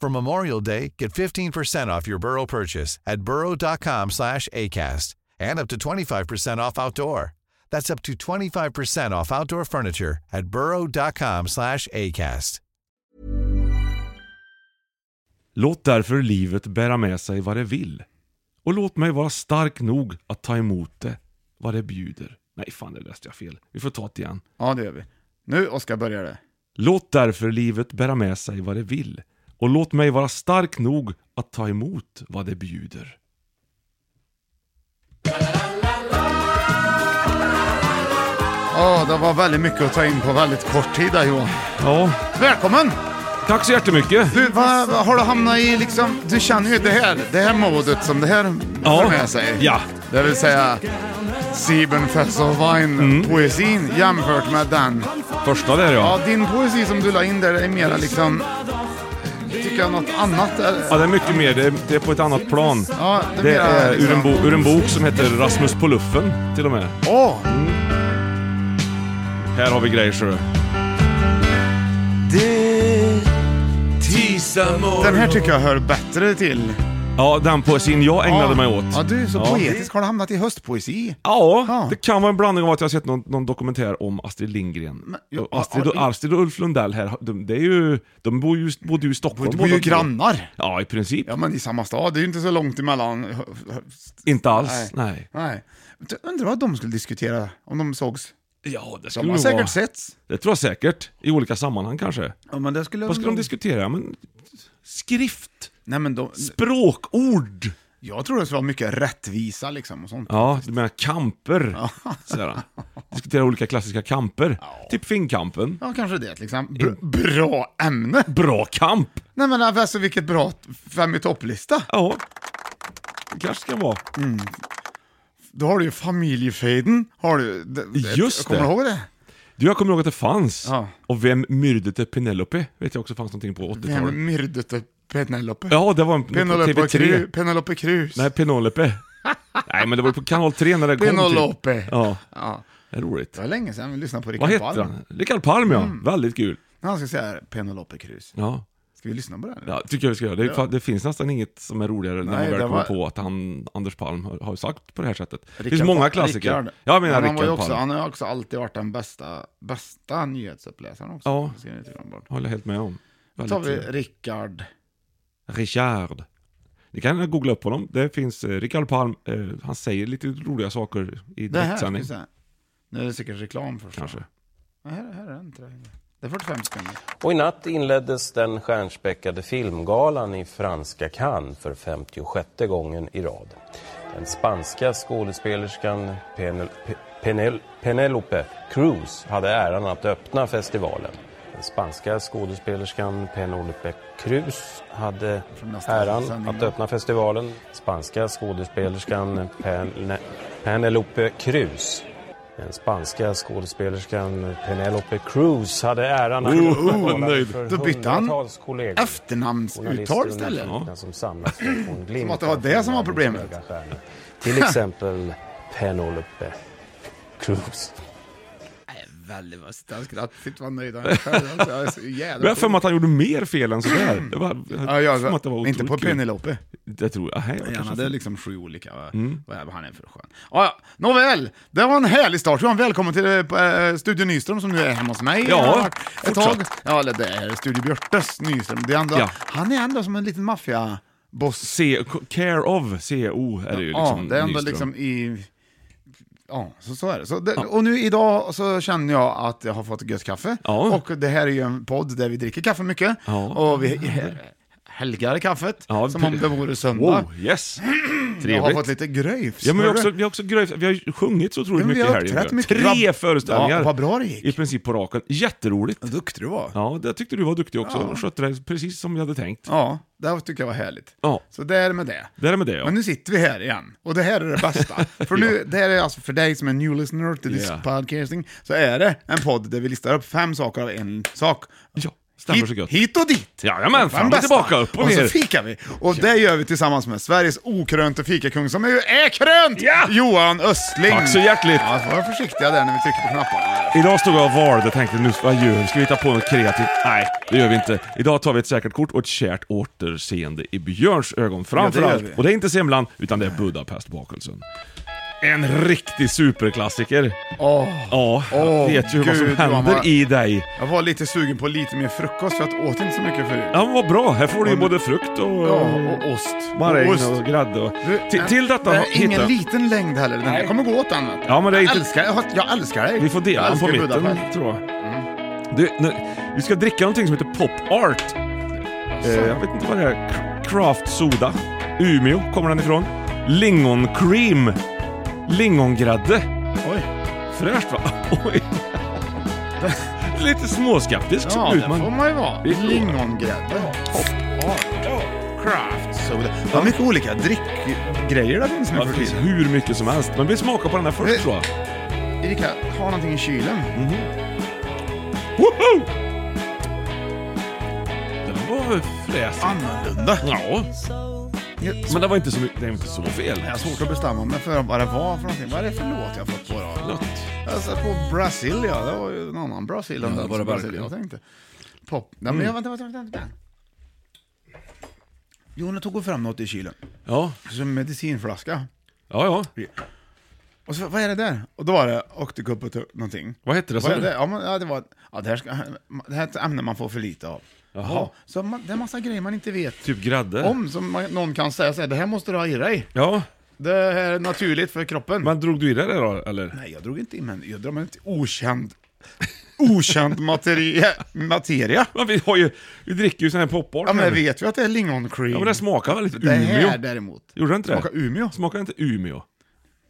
For Memorial Day, get 15% off your Burrow purchase at burrow.com slash ACAST and up to 25% off outdoor. That's up to 25% off outdoor furniture at burrow.com slash ACAST. Låt därför livet bära med sig vad det vill. Och låt mig vara stark nog att ta emot det, vad det bjuder. Nej, fan det läste jag fel. Vi får ta det igen. Ja, det gör vi. Nu, Oskar, börjar det. Låt därför livet bära med sig vad det vill. Och låt mig vara stark nog att ta emot vad det bjuder. Ja, det var väldigt mycket att ta in på väldigt kort tid där, Johan. Ja, Välkommen! tack så jättemycket! Du, vad, vad har du hamnat i liksom, du känner ju det här, det här modet som det här Ja. för med sig. Ja. Det vill Mm. säga Siebenfesselwein-poesin jämfört med den. Första där ja. Ja, din poesi som du la in där är mera liksom, tycker jag något annat. eller- Ja, det är mycket mer. Det är, det är på ett annat plan. Ja, det är Det mera är ur en, liksom- bo, ur en bok som heter Rasmus på luffen, till och med. Åh! Här har vi grejer ser du. den här tycker jag hör bättre till. Ja, den poesin jag ägnade mig åt. Ja, du är så poetisk. Har du hamnat i höstpoesi? Ja, Ja. det kan vara en blandning av att jag har sett någon, någon dokumentär om Astrid Lindgren. ja, Och Astrid, och, har du- Astrid och Ulf Lundell här, de, det är ju, de bor ju, bodde ju i Stockholm. Du bor ju båda två. grannar. Ja, i princip. Ja, men i samma stad. Det är ju inte så långt emellan. Inte Nej. alls. Nej. Nej. Undrar vad de skulle diskutera om de sågs. Ja, det skulle De har nog vara. säkert setts. Det tror jag säkert. I olika sammanhang kanske. Ja, men det skulle Vad skulle de diskutera? Ja, Men, skrift. Nej, men de, Språkord. jag tror det skulle vara mycket rättvisa liksom och sånt. Ja, du menar kamper. Sådär. Diskutera olika klassiska kamper. Typ Finnkampen. Ja, kanske det liksom. Br- bra ämne! Bra kamp! Nej men alltså vilket bra t- fem i topplista. Ja. Det kanske ska vara. Då har du ju familjefejden, har du. Det, det, Just Kommer det. du ihåg det? Du, jag kommer ihåg att det fanns. Ja. Och vem myrdete Penelope? Vet jag också fanns någonting på 80-talet. Vem myrdade Penelope? Ja, det var en, på Penelope TV3. Cruz. Penelope Cruz. Nej, Penelope. Nej, men det var ju på kanal 3 när det kom Penelope. Typ. Ja, Ja. det är roligt. Det var länge sedan vi lyssnade på Vad Rickard heter han? Rickard Palm ja, Mm. väldigt kul. Han ska säga Penelope Cruz. Ja. Ska vi lyssna på det? här nu? ja, tycker jag vi ska göra. Det, är- det finns nästan inget som är roligare när Nej, man det väl kommer var- på att han, Anders Palm har, har sagt på det här sättet. det finns Rickard många Palm- klassiker. Rickard. Ja, Jag menar Men han, var ju Rickard också, Palm. han har ju också alltid varit den bästa, bästa nyhetsuppläsaren också. Ja. Det ska ni inte glömma bort. Håller jag helt med om. Då tar vi Väldigt, Rickard. Richard. Ni kan googla upp honom. Det finns eh, Rickard Palm. Eh, han säger lite roliga saker i Det här ska vi direktsändning. se. Nu är det säkert reklam först. Kanske. Ja, här, här är den tror jag. Det är 45 spänn. Och i natt inleddes den stjärnspäckade filmgalan i franska Cannes för 56 gången i rad. Den spanska skådespelerskan Penel, Pe- Penel, Penelope Cruz hade äran att öppna festivalen. Den spanska skådespelerskan Penelope Cruz hade nästa äran sändning. att öppna festivalen. Spanska skådespelerskan Pene, Penelope Cruz Den spanska skådespelerskan Penelope Cruz hade äran att upprätthålla nöjd. för Då bytte han hundratals kollegor. Efternamnsuttal istället. Ja. Som samlas för att få en glimt Som att det var av det som var filmvärldens problemet. höga stjärnor. Till exempel Penelope Cruz. Nej, Väldigt vad sitter han skratt. Sitter man nöjd. Han är själv. Alltså, Jag är så jävla Men jag har för mig att han gjorde mer fel än sådär. Det var, Ja, jag har för mig att det var jag, inte på otroligt kul. Penelope. Det tror jag. Aha, jag Han kanske- Mm. hade liksom sju olika. va? Vad är han är för skön. Ja, ja. Nåväl, det var en härlig start. Johan, välkommen till eh, Studio Nyström som nu är hemma hos mig. Ja, Har varit ett tag. fortsatt. Ja, eller det är Studio Björtes Nyström. Det är ändå, Ja. Han är ändå som en liten maffiaboss. C, care of, CO är det ju liksom. ja, det är ändå Nyström. liksom i... Ja, så, så är det. Så det Och nu idag så känner jag att jag har fått gött kaffe. Ja. Och det här är ju en podd där vi dricker kaffe mycket. Ja. Och vi helgar kaffet Ja, som om det vore söndag. Wow, yes! Jag har Trevligt. fått lite gröjfs. Ja, men vi har Hör också, du? vi har också grejs, vi har ju sjungit så otroligt Ja, men vi mycket har här. uppträtt ju. mycket. Tre Vad- föreställningar. Ja, vad bra det gick. I princip på raken. Jätteroligt. Vad duktig du var. Ja, det tyckte du var duktig också. Ja. Skötte det precis som jag hade tänkt. Ja, det här tycker jag var härligt. Ja. Så det är med det. Det är med det ja. Men nu sitter vi här igen, och det här är det bästa. För nu, det här är alltså för dig som är new listener till this Yeah. podcasting, så är det en podd där vi listar upp fem saker av en sak. ja, stämmer så Hit, gött. hit och dit! Jajamän, Fem fram och bästa. tillbaka, upp och Och så ner. fikar vi! Och det gör vi tillsammans med Sveriges okrönte fikakung, som är ju är krönt! Ja! Johan Östling! Tack så hjärtligt. Ja, så var försiktiga där när vi trycker på knapparna. Idag stod jag och valde och tänkte nu, vad gör vi? Ska vi hitta på något kreativt? Nej, det gör vi inte. Idag tar vi ett säkert kort och ett kärt återseende i Björns ögon gör framförallt. vi. och det är inte semlan, utan det är Budapestbakelsen. En riktig superklassiker. Åh. Ja, jag Åh, vet ju vad som gud, vad händer man- i dig. Jag var lite sugen på lite mer frukost, för jag åt inte så mycket förut. Ja, men vad bra. Här får du ju Och nu- både frukt och... Ja, och ost. Maräng Och Mm. och grädde och... Du, Till, till detta Det är ingen hitta- liten längd heller. Den här Nej. kommer gå åt den. vet du. Ja, men det är jag, inte- älskar, jag, har- jag älskar dig. Vi får dela jag den på älskar Mm. mitten, Budapest. tror jag. Du, nu, vi ska dricka någonting som heter Pop Art. Eh, jag vet inte vad det är. K- Craft Soda. Umeå kommer den ifrån. Lingoncream. Lingongrädde. Oj. Fräscht va? Oj. Lite småskeptisk Ja, såg det ut får man. man ju vara. Vi provar. Lingongrädde. Craft soda. Vad mycket olika dryckgrejer det finns nu Ja, för det finns tiden. hur mycket som helst. Men vi smakar på den här Eh. först tror jag. Erika, ha någonting i kylen. Mm. Woho! Den var fräsig. Annorlunda. Ja, Jag, men det var inte så, mycket- det var inte så fel. jag har svårt att bestämma mig för vad det var för någonting. Vad är det för låt jag har fått på då? Gott. Jag satt på Brasilia. Det var ju en annan Brasil än Ja, den var det som Brasilia verkligen. Mm. jag tänkte. Pop. Nej, men jag vänta, vänta, vänta. vänta. Jonas tog fram något i kylen. Ja, Som en medicinflaska. ja, ja. Och så, vad är det där? Och då var det Octocup och typ någonting. Vad hette det, sa Vad är du? det? Ja, men, ja, det var... Ja, det här, ska, det här är ett ämne man får för lite av. Jaha. Ja, så man, det är massa grejer man inte vet Typ grädde. om, som man, någon kan säga så här, det här måste du ha i dig. Ja, Det här är naturligt för kroppen. men drog du i dig det då, eller? Nej, jag drog inte in men jag drog mig inte okänd... Okänd materia. materia. Men vi har ju, vi dricker ju sån här popart Ja, men här jag nu. vet ju att det är lingoncream. ja, men det smakar väl lite Det här Umeå? däremot. Gjorde det inte det? Smakar Umeå. Smakar inte Umeå?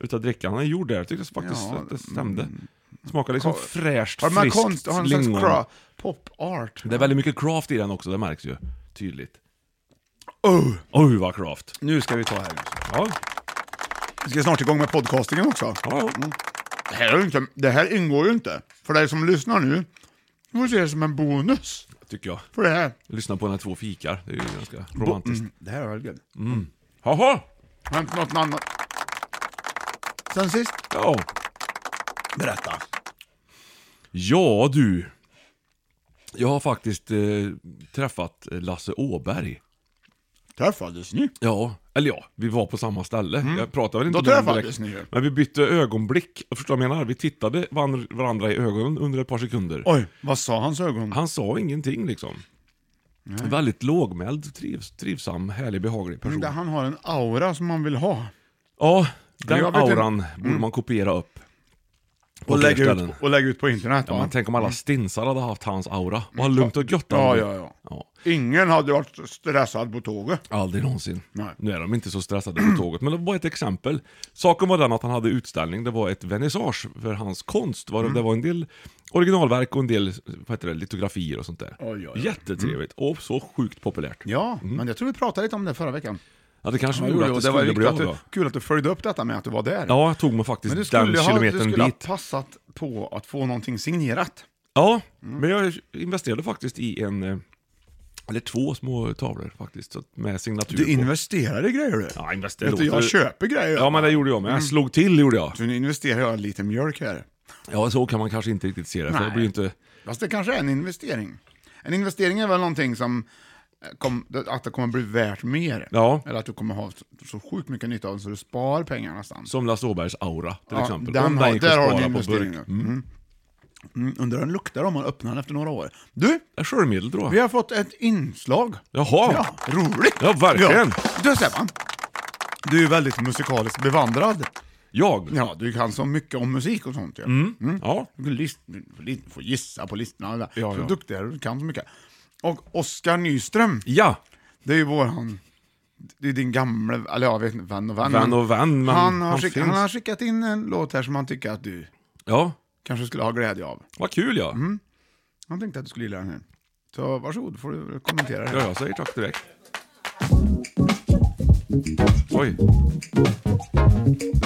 Utav drickan han gjorde där, jag tyckte faktiskt Ja, mm. att det stämde. Smakar liksom fräscht, Har de här friskt konst... Har de någon slags lingon. cra- pop-art? Det är väldigt mycket craft i den också, det märks ju tydligt. Oh, Oj, vad craft! nu ska vi ta här. Ja, Vi ska snart igång med podcastingen också. ja, Mm. ja. Det här, är ju inte, det här ingår ju inte. För dig som lyssnar nu, du får se det som en bonus. tycker jag. För det här. Lyssna på när två fikar, det är ju ganska romantiskt. Det här är väldigt gött. Jaha! Har hänt något annat? Sen sist? Ja. Berätta. Ja du. Jag har faktiskt eh, träffat eh, Lasse Åberg. Träffades ni? Ja, eller ja, vi var på samma ställe. Jag pratade väl inte Mm. Då med honom träffades ni ju. Men vi bytte ögonblick. Jag förstår vad jag menar? Vi tittade varan- varandra i ögonen under ett par sekunder. Oj, vad sa hans ögon? Han sa ingenting liksom. En väldigt lågmäld, trivs, trivsam, härlig, behaglig person. Det- Han har en aura som man vill ha. Ja, den Jag vet inte- Mm. auran borde man kopiera upp. På Och fler lägga ställen. ut, och lägga ut på internet. Ja, va? men tänk om alla stinsar hade haft hans aura. Vad lugnt och gött Mm. ja, Albert. ja, ja. ja. Ingen hade varit stressad på tåget. Aldrig någonsin. Nej. Nu är de inte så stressade på tåget, men det var ett exempel. Saken var den att han hade utställning, det var ett vernissage för hans konst. Mm. Var det, det var en del originalverk och en del vad heter det, litografier och sånt där. Oj, Mm. oj, oj. Jättetrevligt och så sjukt populärt. Ja, men jag tror vi pratade lite om det förra veckan. Ja, det kanske ja, Ja, det gjorde gjorde att Mm. du, det och det var skulle bli viktigt av att du, då. kul att du följde upp detta med att du var där. Ja, jag tog mig faktiskt Men du den skulle, ha, du kilometern skulle ha dit. passat på att få någonting signerat. Ja, Mm. men jag investerade faktiskt i en, eh, eller två små tavlor faktiskt, så att- med signatur Du på. investerade i grejer du. Ja, investerade. Vet du, jag köper grejer. Ja, men det gjorde jag med. Mm. Jag slog till gjorde jag. Så nu investerar jag lite mjölk här. Ja, så kan man kanske inte riktigt se det, för Nej. det blir ju inte... Fast det kanske är en investering. En investering är väl någonting som eh, kom, att det kommer bli värt mer. Ja. Eller att du kommer ha så- så sjukt mycket nytta av det så du spar pengar nästan. Som Lasse Åbergs aura till Ja, exempel. den Om har- gick där att har du spara en på investering burk. nu. Mm. Mm, undrar hur den luktar om man öppnar den efter några år. Du, Det är sköljmedel tror vi jag. har fått ett inslag. Jaha! Ja, roligt! Ja, verkligen. Ja. Du Stefan, du är väldigt musikaliskt bevandrad. Jag? Mm. Ja, Mm. du kan så mycket om musik och sånt ju. Ja. Du kan list- du får li- får gissa på listorna. och det där. Ja, så ja. duktig är du, du kan så mycket. Och Oskar Nyström, Ja, det är ju våran... Det är din gamle, eller jag vet inte, vän och vän. vän men och vän, men han, har han skick, finns. han har skickat in en låt här som han tycker att du ja. kanske skulle ha glädje av. Vad kul ja. Mm. Han tänkte att du skulle gilla den här. Så varsågod, får du kommentera det. Ja, jag säger tack direkt. Oj.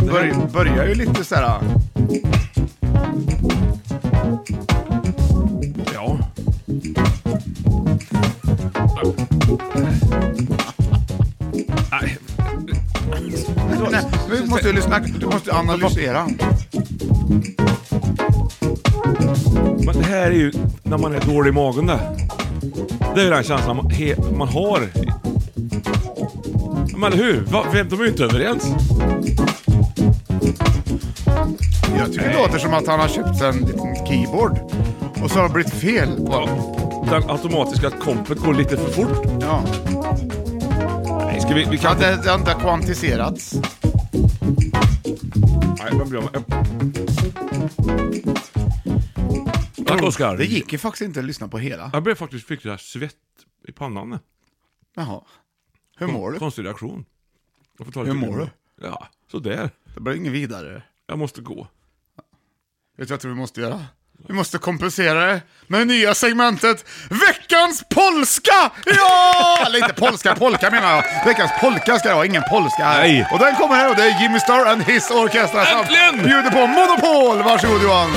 Bör, börjar ju lite så här... Ja. Nej. Nej, vi måste ju lyssna, du måste analysera. Men det här är ju när man är dålig i magen det. Det är ju den känslan man, he, man har. Men eller hur? Va, vem- de är ju inte överens. Jag tycker det låter som att han har köpt sig en liten keyboard. Och så har det blivit fel på den. Den automatiska kompet går lite för fort. Ja. Nej, ska vi... vi Ja, kan inte... det, det har inte kvantiserats. Nej, vad blir det? Tack Oskar. Det gick ju faktiskt inte att lyssna på hela. Jag blev faktiskt fick det här svett i pannan. Jaha. Hur mår du? Konstig reaktion. Jag får ta Hur lite mår grann. Ja, sådär. Det blir inget vidare. Jag måste gå. Vet du vad jag tror vi måste göra? Vi måste kompensera det med det nya segmentet Veckans polska! Ja! Eller inte polska, polka menar jag. Veckans polka ska jag ha, ingen polska här. Nej. Och den kommer här och det är Jimmy Star and his orkestra som Äntligen! bjuder på Monopol. Varsågod Johan.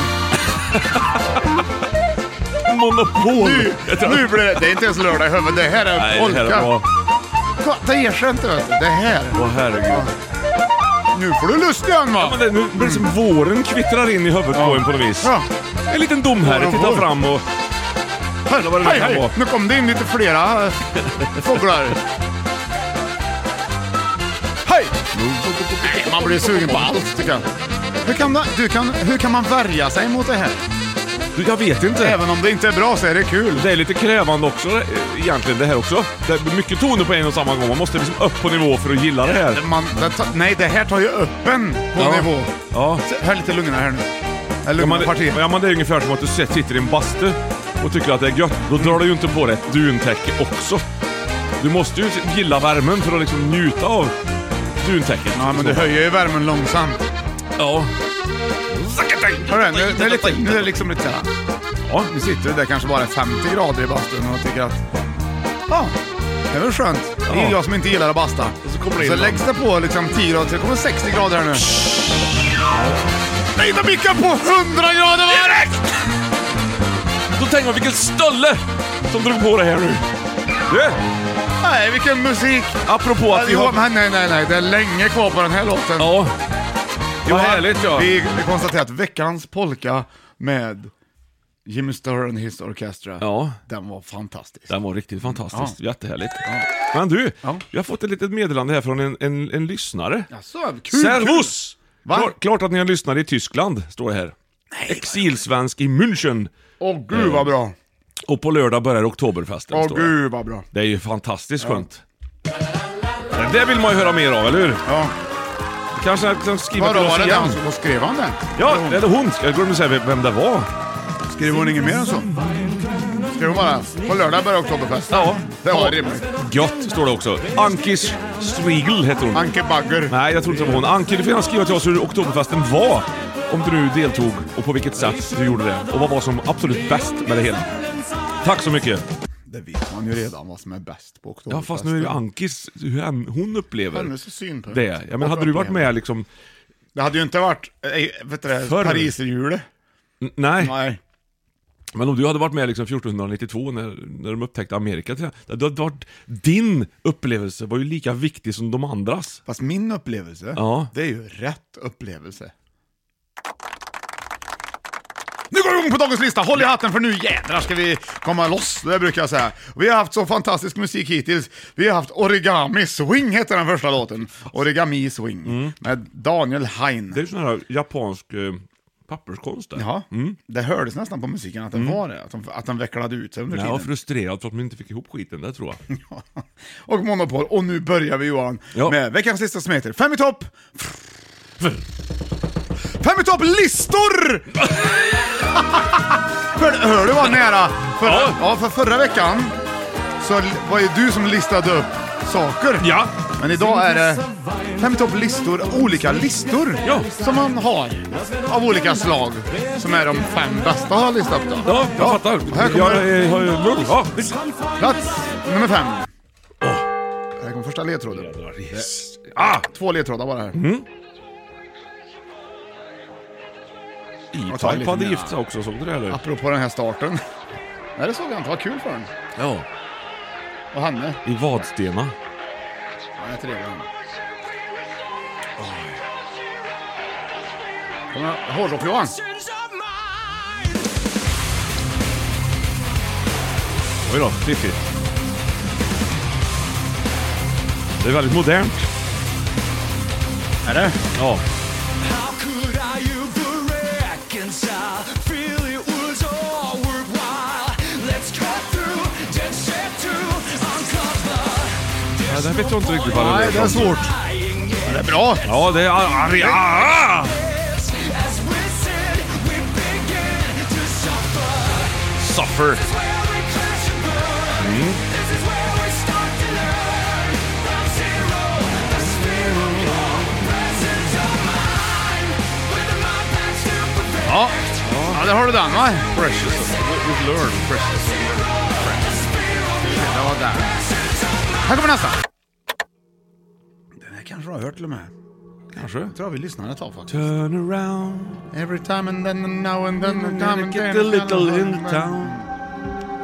Monopol! Nu, nu blir det, det är inte ens lördag i huvudet, det här är Nej, det polka. här var... Kolla, Det ger sig inte vet du. Det här. Åh herregud. Nu får du lust igen va? Men det, nu blir det som våren kvittrar in i huvudet på en på något vis. Ja. En liten domherre Vår och tittar vår. fram och... Kolla vad det nu Hej, kan vara. hej! Nu kom det in lite flera eh, fåglar. Hej! Nej, man blir sugen på allt tycker jag. Hur kan, man- du kan, hur kan man värja sig mot det här? Du, jag vet inte. Även om det inte är bra så är det kul. Det är lite krävande också eh, egentligen det här också. Det är mycket toner på en och samma gång. Man måste liksom upp på nivå för att gilla det här. Man, det ta, nej, det här tar ju upp en på Ja. nivå. Ja. Så, Hör lite lugna här nu. Eller Ja, lugna men, parti. ja, men det är ungefär som att du sit- sitter i en bastu och tycker att det är gött. Då drar du ju inte på dig ett duntäcke också. Du måste ju gilla värmen för att liksom njuta av duntäcket. Ja, men du höjer ju värmen långsamt. Ja. Hörru, nu, nu, är lite, nu är det liksom lite såhär. Ja. Nu sitter du där kanske bara 50 grader i bastun och tycker att ja, det är väl skönt. Det är Ja. jag som inte gillar att basta. Och så kommer det in så någon. läggs det på liksom 10 grader, så det kommer 60 grader här nu. Nej, de gick upp på 100 grader direkt! Då tänker man vilken stölle som drog på det här nu. Du, Nej, vilken musik! apropå att vi Johan, har... nej, nej, nej, nej, det är länge kvar på den här låten. Ja. Vad härligt ja. Vi, vi konstaterar att veckans polka med Jimmy Starr and his orchestra, Ja. den var fantastisk. Den var riktigt fantastisk. Ja. Jättehärligt. Men du, Ja. jag har fått ett litet meddelande här från en, en, en lyssnare. Jaså, Alltså, kul, Servus! Va? Klar, klart att ni har lyssnat i Tyskland, står det här. Exilsvensk i München. Åh gud vad bra! Och på lördag börjar Oktoberfesten, Åh står det. gud vad bra! Det är ju fantastiskt skönt. Det där vill man ju höra mer av, eller hur? Ja. Kanske jag kan skriva Vadå, till var oss det igen. den som skrev han den? Ja, det är hon. Jag glömde säga vem- vem det var. Skrev hon inget mer än så? Skrev hon bara på lördag börjar Oktoberfest? Ja. Det var rimligt. Gött, står det också. Ankis Swigel heter hon. Anke Bagger. Nej, jag tror inte det var hon. Anki, du får gärna skriva till oss hur Oktoberfesten var. Om du nu deltog och på vilket sätt du gjorde det. Och vad var som absolut bäst med det hela. Tack så mycket. Det vet man ju redan vad som är bäst på Ja fast nu är ju Ankis, hur hen- hon upplever Hennes synpunkt. det. Ja, men hade du varit med liksom, Det hade ju inte varit, äh, vet du det, Förr. pariserhjulet. n- nej, Nej. men om du hade varit med liksom 1492 när, när de upptäckte Amerika, till exempel, det hade varit, din upplevelse var ju lika viktig som de andras. Fast min upplevelse, Ja. det är ju rätt upplevelse. Nu går vi igång på dagens lista! Håll i hatten för nu jädrar ska vi komma loss, det brukar jag säga. Vi har haft så fantastisk musik hittills. Vi har haft Origami Swing, heter den första låten. Origami Swing, med Daniel Hein. Mm. Det är ju sån här japansk eh, papperskonst där. Ja, det hördes nästan på musiken att den var det, att den, att den vecklade ut sig under Jag var tiden. frustrerad Mm. för att de inte fick ihop skiten där tror jag. Och Monopol, och nu börjar vi Johan Ja. med veckans lista som heter Fem i topp! Fem i topp-listor! För- Hör du vad nära? Förra, ja. Ja. för förra veckan så l- var ju du som listade upp saker. Ja! Men idag är det fem i topp-listor, olika listor Ja. som man har av olika slag. Som är de fem bästa har listat då. Ja, jag fattar. Här kommer Jag eh, har ju... Ja, visst. plats nummer fem. Här kommer första ledtråden. Ah! Mm. Två ledtrådar bara här. Jag tar E-Type lite hade mer. gift sig också, såg du det eller? Apropå den här starten. Nej, det såg jag inte. Vad kul för den. Ja. Och Hanne. I Vadstena. Han är trevlig han. Kommer Hårdrock-Johan. Oj då, fiffigt. Det är väldigt modernt. Är det? Ja. ja det här vet jag inte riktigt vad det Nej, är. liksom. det är svårt. Men det är bra. Ja, det är Aria. Suffer. Ja. ja, där har du den va? Precious. We've learned. Precious. Det var där. Här kommer nästa. Den här kanske du har hört till och med. Kanske. Jag tror vi lyssnade ett tag faktiskt. Turn around. Every time and then and now and then and time Gonna and get then a and little then in and the then. town.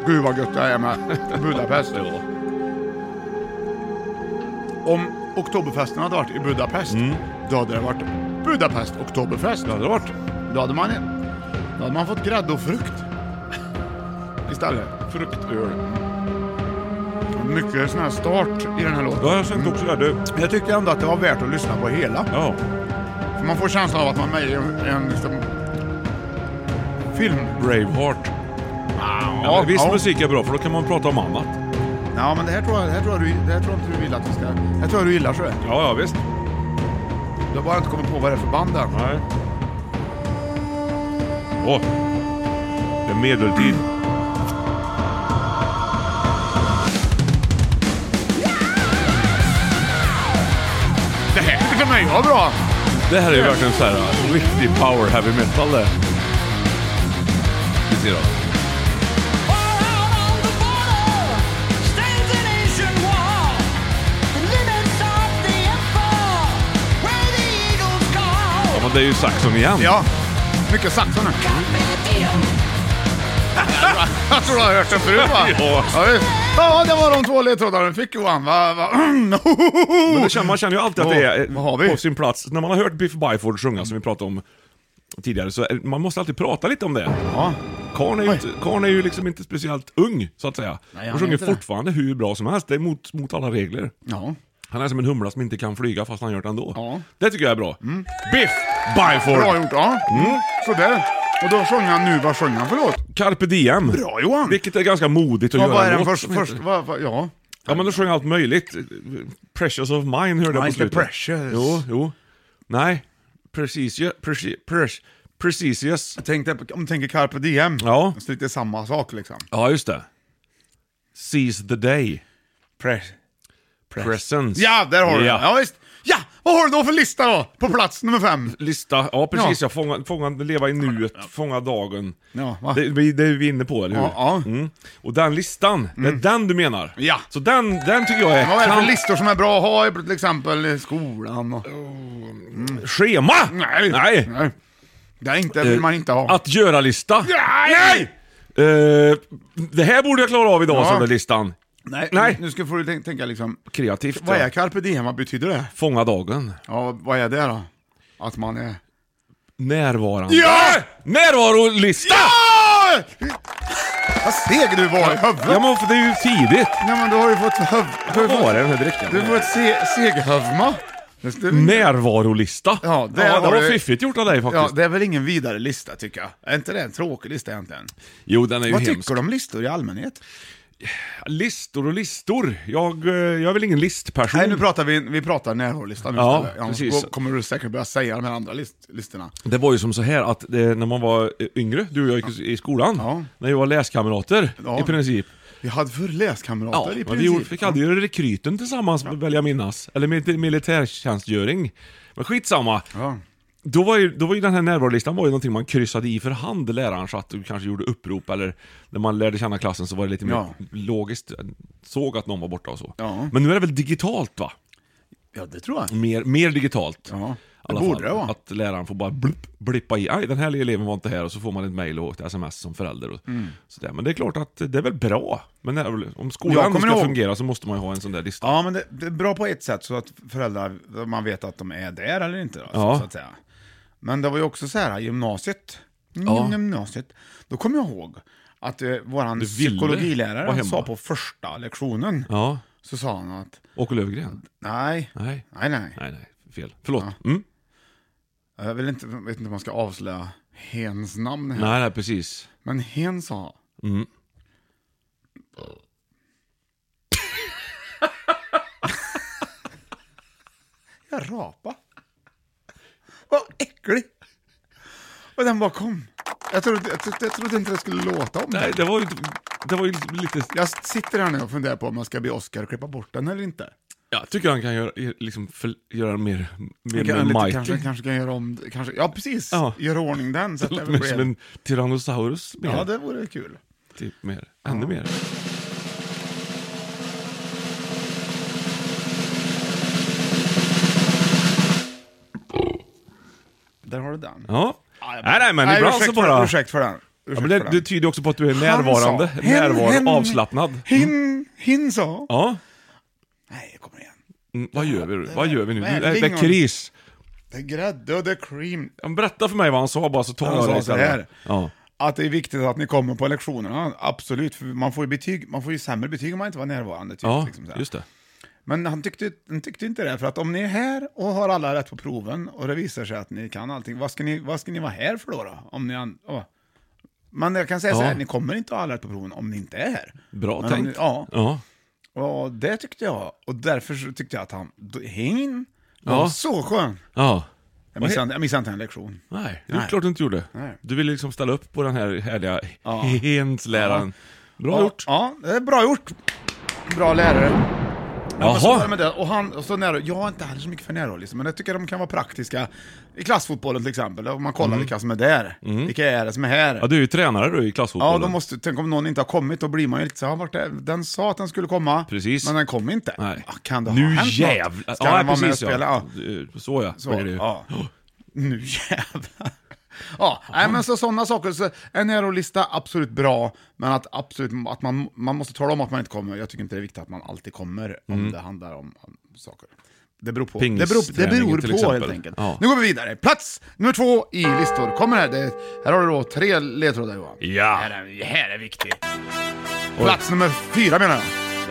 Gud vad gött jag är med Budapest. Om Oktoberfesten hade varit i Budapest, då hade det varit Budapest Oktoberfest. Mm. Det hade det varit. Då hade man, då hade man fått grädde och frukt. Istället. Fruktöl. Mycket sån här start i den här låten. Ja, jag kände också det. Du. Jag tyckte ändå att det var värt att lyssna på hela. Ja. För man får känslan av att man är med i en, en liksom, film. Braveheart. Ja, men viss musik är bra för då kan man prata om annat. Ja, men det här tror jag, det här tror jag, du, det här tror jag inte du vill att vi ska... Det här tror jag du gillar, så det. Ja, ja visst. Du har bara inte kommit på vad det är för band där. Nej. Åh! Det är medeltid. Det här tyckte mig var bra! Det här är ju verkligen så här uh, riktig power heavy metal det. Vi ser då. Ja, men det är ju saxon igen. Ja, mycket saxon här. Jag tror du har hört den förut va? Ja. Ja, visst. ja det var de två ledtrådarna du fick Johan. Va, va. Men det känner, man känner ju alltid att det är Vad har vi? eh, på sin plats. När man har hört Biff Byford sjunga, som vi pratade om tidigare, så är, man måste alltid prata lite om det. Ja. Karn är, ju Oj. inte, Karn är ju liksom inte speciellt ung, så att säga. Nej, han och är sjunger inte det. fortfarande hur bra som helst. Det är mot, mot alla regler. ja. Han är som en humla som inte kan flyga fast han gör det ändå. Ja. Det tycker jag är bra. Biff Byford! Mm. Bra gjort. Ja. Sådär. Och då sjöng han nu, vad sjöng han för låt? Carpe diem. Bra Johan! Vilket är ganska modigt att Ja, göra vad är en låt den först, som först, heter- vad, vad, ja. Ja men då sjöng allt möjligt. Precious of mine hörde jag Ja, på inte slutet. precious. Jo, jo. Nej. Precis, precis, precis, precis. Jag tänkte, om du tänker Carpe Diem, Ja. så lite samma sak liksom. Ja, just det. Seize the day. Press. Presence. Ja, där har du den. Ja, visst. Ja, Vad har du då för lista då? På plats nummer fem? Lista, ja precis ja, Ja. fånga, fånga, leva i nuet, fånga dagen. Ja, va? det, vi- det är vi inne på, eller hur? Ja, ja. Mm. Och den listan, det är den du menar? Ja. Så den, den tycker jag är... Vad är det för kan- listor som är bra att ha i till exempel i skolan? Och... Schema! Nej. Nej! Eh, Det är inte, vill man inte ha. Att göra-lista. Nej! Eh, det här borde jag klara av idag, Ja. sa den listan. Nej, Nej. nu ska får du tänk- tänka liksom, Kreativt. vad ja. är carpe diem, vad betyder det? Fånga dagen. Ja, vad är det då? Att man är... Närvarande. Ja! Närvarolista! Ja! Vad seg du var i Ja, huvudet! men för det är ju tidigt. Nej men du har ju fått höv... Vad var det den här drickan? Du får ett se, seghövma. Det- det- Närvarolista. Ja, där det har var du- fiffigt gjort av dig faktiskt. Ja, det är väl ingen vidare lista tycker jag. Är inte det en tråkig lista egentligen? Jo, den är ju Vad hemsk. tycker du om listor i allmänhet? Listor och listor. Jag, eh, jag är väl ingen listperson. Nej, nu pratar vi, vi pratar närvarolistan nu Ja, istället. Annars precis. går- kommer du säkert börja säga de här andra list, listorna. Det var ju som så här att eh, när man var eh, yngre, du och jag gick i skolan, Ja. när vi var läskamrater Ja. i princip. Vi hade för läskamrater Ja, i men princip. vi gjorde, fick aldrig göra rekryten tillsammans, vill jag minnas. Eller mil- militärtjänstgöring. Men skitsamma. Ja. Då var, ju, då var ju den här närvarolistan var ju någonting man kryssade i för hand läraren så att du kanske gjorde upprop eller när man lärde känna klassen så var det lite Ja. mer logiskt, såg att någon var borta och så. Ja. Men nu är det väl digitalt va? ja, det tror jag. Mer, mer digitalt. Ja, det I alla borde fall, det vara. Att läraren får bara blipp, blippa i, aj den här eleven var inte här och så får man ett mail och ett sms som förälder. Och Mm. så där. Men det är klart att det är väl bra. Men när, om skolan Jag kommer ska ihåg- fungera så måste man ju ha en sån där lista. Ja, men det, det är bra på ett sätt så att föräldrar, man vet att de är där eller inte. Då, Ja. så, så att säga. Men det var ju också så här, gymnasiet. Ja. gymnasiet. Då kommer jag ihåg att eh, vår Du ville vara psykologilärare hemma. sa på första lektionen, Ja, så sa han att Åke Löfgren? nej, Nej. nej, nej, Nej, nej, fel. Förlåt. Mm? jag vill inte, vet inte om man ska avslöja hens namn här. Nej, nej, precis. Men hen sa, Mm. jag rapa. Vad äcklig. Och den bara kom. Jag trodde, jag, trodde, jag trodde inte det skulle låta om det. Nej, det var ju, det var ju lite- lite... Jag sitter här nu och funderar på om man ska be Oscar att klippa bort den eller inte. Jag tycker han kan göra, liksom, för, göra den mer, mer, Jag kan, lite, mer kanske, mighty. kanske kan göra om kanske, Ja, precis. Ja. Göra ordning den så att det Lite mer blir... som en Tyrannosaurus. Mer, Ja, det vore kul. Typ mer. Ännu mer. Där har du den. Ja. Nej, nej, men Nej, ibland ursäkt så bara... För, ursäkt för den. Ursäkt Ja, men det, för det den. tyder ju också på att du är Han närvarande, sa, hen- närvarande, hen- avslappnad. Mm. Hin, hin sa. Ja. Nej, kom igen. Mm, vad gör vi nu? Vad gör vi nu? Det Nej, är, det är lingon. kris. Det är grädde och det är cream. Ja, men Berätta för mig vad han sa bara så tar Han jag sa det så istället. här. Ja. Att det är viktigt att ni kommer på lektionerna, absolut. För man får ju betyg, man får ju sämre betyg om man inte var närvarande. Typ, Ja, liksom så här. just det. Men han tyckte, han tyckte inte det, för att om ni är här och har alla rätt på proven och det visar sig att ni kan allting, vad ska ni, vad ska ni vara här för då? då? Om ni an, åh. Men jag kan säga så Ja. här, ni kommer inte ha alla rätt på proven om ni inte är här. Bra Men om tänkt. ni- ja. Ja. Och det tyckte jag, och därför så tyckte jag att han, d- hin, Ja. var så skön. ja. Jag missade, inte- jag missade inte en lektion. Nej, det är Nej. klart du inte gjorde. Nej. Du ville liksom ställa upp på den här härliga Ja. hensläraren. Bra ja, gjort. Ja, det är bra gjort. Bra lärare. Ja, men så var det Jaha. med det. Och han, och så nära, jag är inte heller så mycket för närroll, liksom, men jag tycker de kan vara praktiska. I klassfotbollen till exempel, om man kollar vilka som är där. Vilka är det som är här? Mm. Ja, du är ju tränare du i Ja, klassfotbollen. då måste, tänk om någon inte har kommit, då blir man ju lite så här, vart är, den sa att den skulle komma, Precis. men den kom inte. Nej. Ah, Kan det ha nu hänt något? jävlar. Ska den vara med och precis, spela? Ja. Ja. Så ja. Så, är det ju. ja. Nu jävlar. Ja, nej, men så sådana saker. Så en eurolista, absolut bra, men att, absolut, att man, man måste tala om att man inte kommer. Jag tycker inte det är viktigt att man alltid kommer om Mm. det handlar om, om saker. Det beror på. Det beror, det Pingisträningen till beror på exempel. helt enkelt. Ja. Nu går vi vidare. Plats nummer två i listor. Kommer här. Det, här har du då tre ledtrådar Johan. Ja. Här är, här är viktigt. Plats nummer fyra menar jag.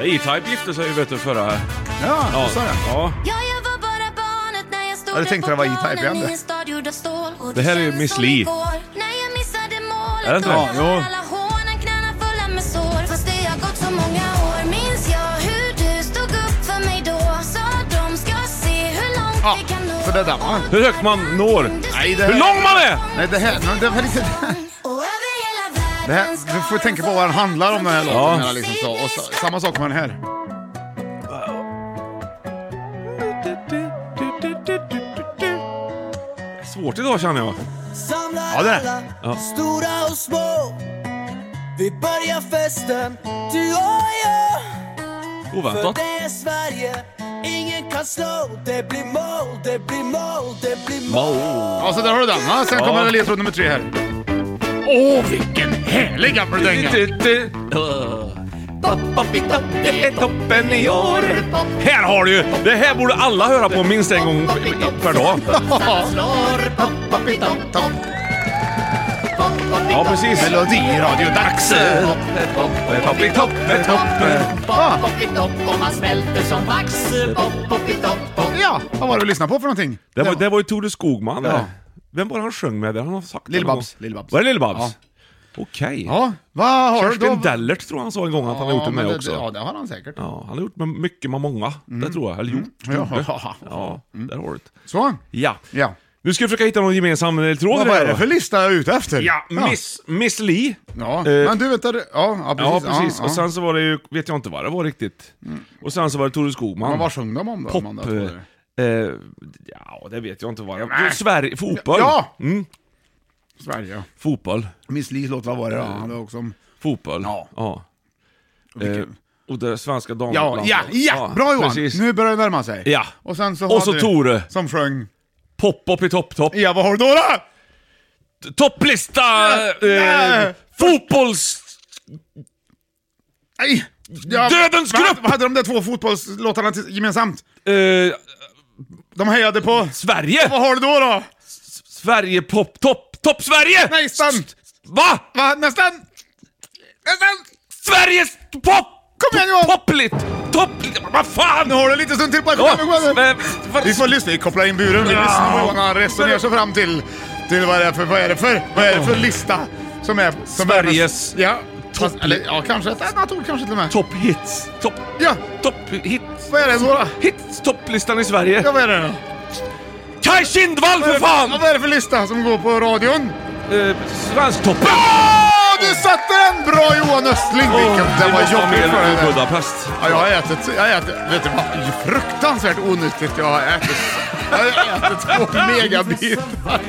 Ja, E-Type gifte sig ju vet du förra... Ja, Ja. du sa det. ja. Ja, jag var bara barnet när jag stod Ja, du där tänkte på det var E-Type planen igen, i det. en stad gjord av stål. Och Det här är ju kändes Miss som Li. igår När jag missade målet Är det inte och det? jag har Ja, jo. alla håren, knäna fulla med sår. Fast det har gått så många år minns jag hur du stod upp för mig då. Sa de ska se hur långt Ja, vi kan nå. så det där va? Hur högt man når. Nej, det Hur här- lång man är! Nej, det här, men det var lite... Och över hela världen Det här, du får tänka på vad den handlar om den här låten. Ja. menar jag, Liksom så. Och så, samma sak med den här. svårt idag känner jag. Oh, Ja, det är det. Ja. Stora och små Vi börjar festen, du och jag För Oväntat. det är Sverige Ingen kan slå Det blir mål, det blir mål, det blir mål Ja, så där har du den. Ja, sen kommer Ja. ledtråd nummer tre här. Åh, vilken härlig gammal dänga! Det är toppen i år. Här har du ju! Det här borde alla höra på minst en gång per dag. Ja, precis. Melodiradio dags! Toppe, toppe, toppe. Ja, vad var det vi lyssnade på för någonting? Det var, det var ju Tore Skogman. Ja. Vem var det han sjöng med? där? Han har sagt det Lill-Babs, någon gång. Lill-Babs. Var det Lill-Babs? Ja. Okej. Ja, vad har du Kerstin då? Dellert tror jag han sa en gång att han har gjort det men med också. Ja, det har han säkert. Ja, han har gjort med mycket med många, det tror jag. Eller gjort, gjorde. Mm. Ja. Mm. Ja, där har du det. Så, Ja. ja. Nu ska vi försöka hitta någon gemensam eh, tråd i Vad det var här det då. för lista jag är ute efter? Ja, Miss, Miss Li. Ja, Eh, men du vet att... Ja, ja, precis. Ja, precis. Ja, Och ja. Mm. sen så var det ju, vet jag inte vad det var riktigt. Och sen så var det Tore Skogman. Men vad sjöng de om då? Pop... Amanda, tror du? eh, ja, det vet jag inte vad det var. Sverige, fotboll. Ja! Mm, Sverige, ja. fotboll. Miss Lis låt, vad var det då? Han var också om... Fotboll. Ja. ja. Eh, Vilken- och det svenska Ja, damlandslaget. ja, ja! Bra Johan! Precis. Nu börjar det närma sig. Ja. Och sen så Och har så du- Tore. Som sjöng... Pop, pop i topp, topp. Ja, vad har du då? då? Topplista! Eh, Nej. fotbolls... Nej! Ja, Dödens vad- grupp! Vad hade de där två fotbollslåtarna till, gemensamt? Eh, De hejade på... Sverige! Vad har du då då? Sverige, pop, topp, topp Sverige! Nej, stan! Va? Va? Nästan! Nästan! Sveriges pop... Kom igen, Johan! Topplit! Topplit! Vad fan! Nu har du lite stund till på Ja, ja, men- vad- Vi får lyssna, vi kopplar in buren, vi lyssnar på Johan han resonerar sig fram till, till vad, det är för, vad är det för, vad är det för lista som är... Som Sveriges Är, ja, fast, topp- eller, ja, kanske ett annat ord kanske till och med. Topp hits. Topp... Ja, Topp hits. vad är det då? då? Hits topplistan i Sverige. Ja, vad är det då? Kaj Kindvall för Ja, fan! vad är det för lista som går på radion? Eh, Svensktoppen! Åh, du satte den! Bra Johan Östling! Åh, Vilken, det vi var måste ha jobbigt mer för dig. där. Budapest. Ja, jag har ätit, jag har ätit, vet du vad, fruktansvärt onyttigt jag har ätit. Jag har ätit två megabitar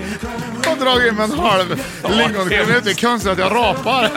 och dragit in en halv lingonkräm. Det är inte konstigt att jag rapar.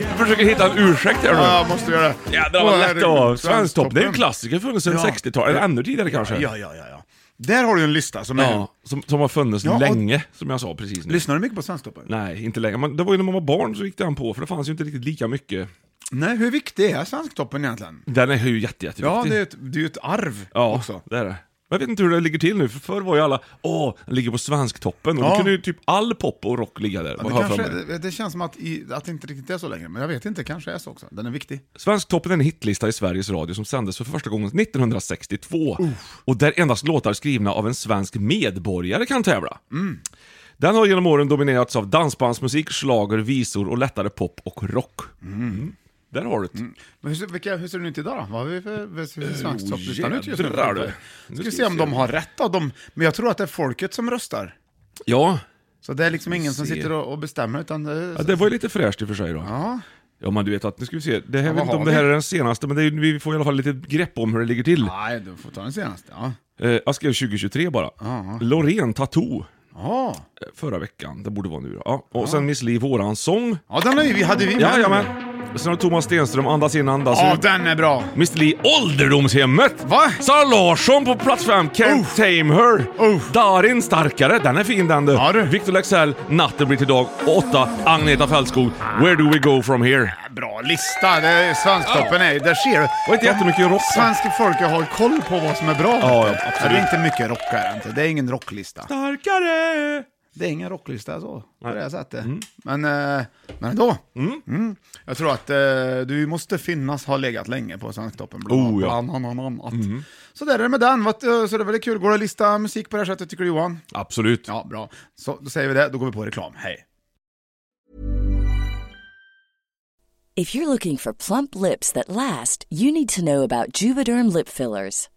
Jag försöker hitta en ursäkt här nu. Ja, jag måste göra det. Jädrar vad Åh, lätt det var. herregud. Svensktoppen, det är ju en klassiker funnits sedan Ja. 60-talet, eller ännu tidigare kanske. Ja, ja, ja, ja. Där har du en lista som är... Ja, som, som har funnits Ja, och- länge, som jag sa precis nu. Lyssnar du mycket på Svensktoppen? Nej, inte länge. Men det var ju när man var barn så gick det an på, för det fanns ju inte riktigt lika mycket. Nej, hur viktig är Svensktoppen egentligen? Den är ju jätte, jätteviktig. Ja, det är ju ett, det är ju ett arv Ja, också. det är det. Men Jag vet inte hur det ligger till nu, för förr var ju alla åh, den ligger på svensktoppen. Och då Ja. kunde ju typ all pop och rock ligga där. Ja, vad Det, jag har för kanske, mig. det, det känns som att, i, att det inte riktigt är så längre, men jag vet inte, kanske är så också. Den är viktig. Svensktoppen är en hitlista i Sveriges Radio som sändes för första gången 1962. Och där endast låtar skrivna av en svensk medborgare kan tävla. Mm. Den har genom åren dominerats av dansbandsmusik, schlager, visor och lättare pop och rock. Mm. Där har du det. Men hur, ser- vilka, hur ser den ut idag då? Vad har vi för, hur ser svensktopplistan ut just nu? jädrar du. Nu ska vi se om de har rätt då. De, men jag tror att det är folket som röstar. Ja. Så det är liksom ingen som se. sitter och, och bestämmer utan... Det, ja, det var ju lite fräscht i och för sig då. ja. Ja men du vet att, nu ska vi se, det här, jag vet vad inte om har det här vi? är den senaste, men det är, vi får i alla fall lite grepp om hur det ligger till. Nej, du får ta den senaste. Ja. Eh, jag skrev 2023 bara. Loreen Tattoo, Ja. eh, förra veckan, det borde vara nu då. Ja. Och sen Miss Li, våran sång. ja, den har ju, vi- hade vi med. Ja, ja men. Sen har Thomas Stenström, Andas in, andas Ja, ut. den är bra. Miss Li, Ålderdomshemmet! Va? Sara Larsson på plats fem, Can't Tame Her. Uff. Darin Starkare, den är fin den du. Ja, du. Victor Lexell, Natten blir till dag. Och åtta, Agneta Fältskog, Where do we go from here? Bra lista. Det är svensktoppen är Där ser du. Och inte jättemycket rock. Svenska folket har koll på vad som är bra. Ja, ja, vet du. absolut. Det är inte mycket rockare inte. Det är ingen rocklista. Starkare! Det är ingen rocklista så, på det här sättet. Men, eh, men ändå. Mm. Jag tror att eh, du måste finnas, ha legat länge på Svensktoppen. Bland, Oh, ja. bland annat. Så där är det med den. Vad, eh, Så det är väldigt kul. Går det att lista musik på det här sättet, tycker du Johan? Absolut. Ja, bra. Så då säger vi det, då går vi på reklam. Hej! If you're looking for plump lips that last, you need to know about Juvederm lip fillers.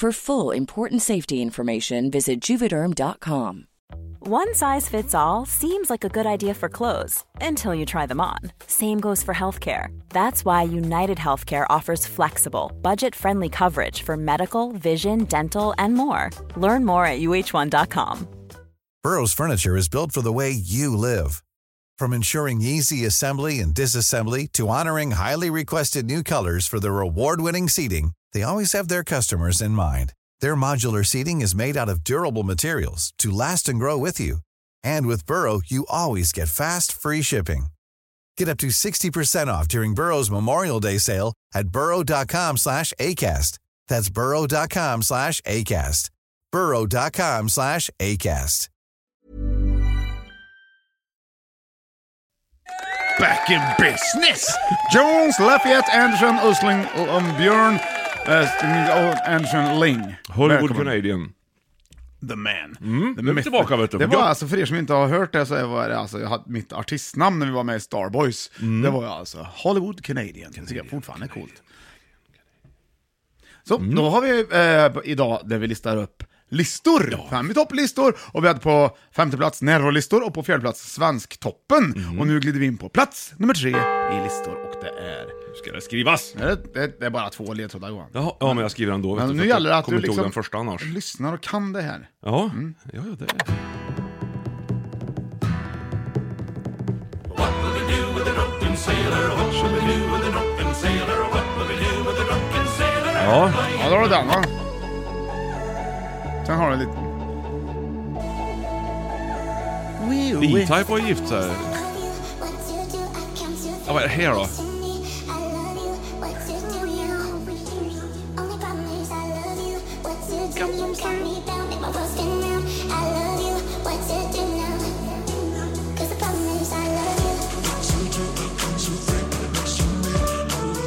For full important safety information, visit juvederm.com. One size fits all seems like a good idea for clothes until you try them on. Same goes for healthcare. That's why United Healthcare offers flexible, budget friendly coverage for medical, vision, dental, and more. Learn more at uh1.com. Burrow's furniture is built for the way you live. From ensuring easy assembly and disassembly to honoring highly requested new colors for their award-winning seating, they always have their customers in mind. Their modular seating is made out of durable materials to last and grow with you. And with Burrow, you always get fast, free shipping. Get up to 60% off during Burrow's Memorial Day sale at burrow.com slash ACAST. That's burrow.com slash ACAST. burrow.com slash ACAST. Back in business! Jones, Lafayette, Anderson, Ösling och om Björn, eh, och Anderson, Ling. Hollywood Välkommen. Canadian. The Man. de är mest- tillbaka, vet du. Det var Ja. alltså, för er som inte har hört det, så var det alltså, jag hade mitt artistnamn när vi var med i Starboys. Det var ju alltså Hollywood Canadian. Mm. Det tycker jag fortfarande är coolt. Så, då har vi eh, idag där vi listar upp listor. Fem i topplistor, och vi hade på femte plats närvarolistor och på fjärde plats Svensktoppen. Och nu glider vi in på plats nummer tre i listor och det är... Nu ska det skrivas. Det är, det är bara två ledtrådar Johan. Jaha, ja, men jag skriver ändå. Vet Men du, nu för gäller det jag att kommer inte du ihåg liksom den första annars. lyssnar och kan det här. Ja, ja, ja det är... Ja, Ja, då har du den va? Sen har du lite... E-Type var ju gift så här. Ja, vad är det här då?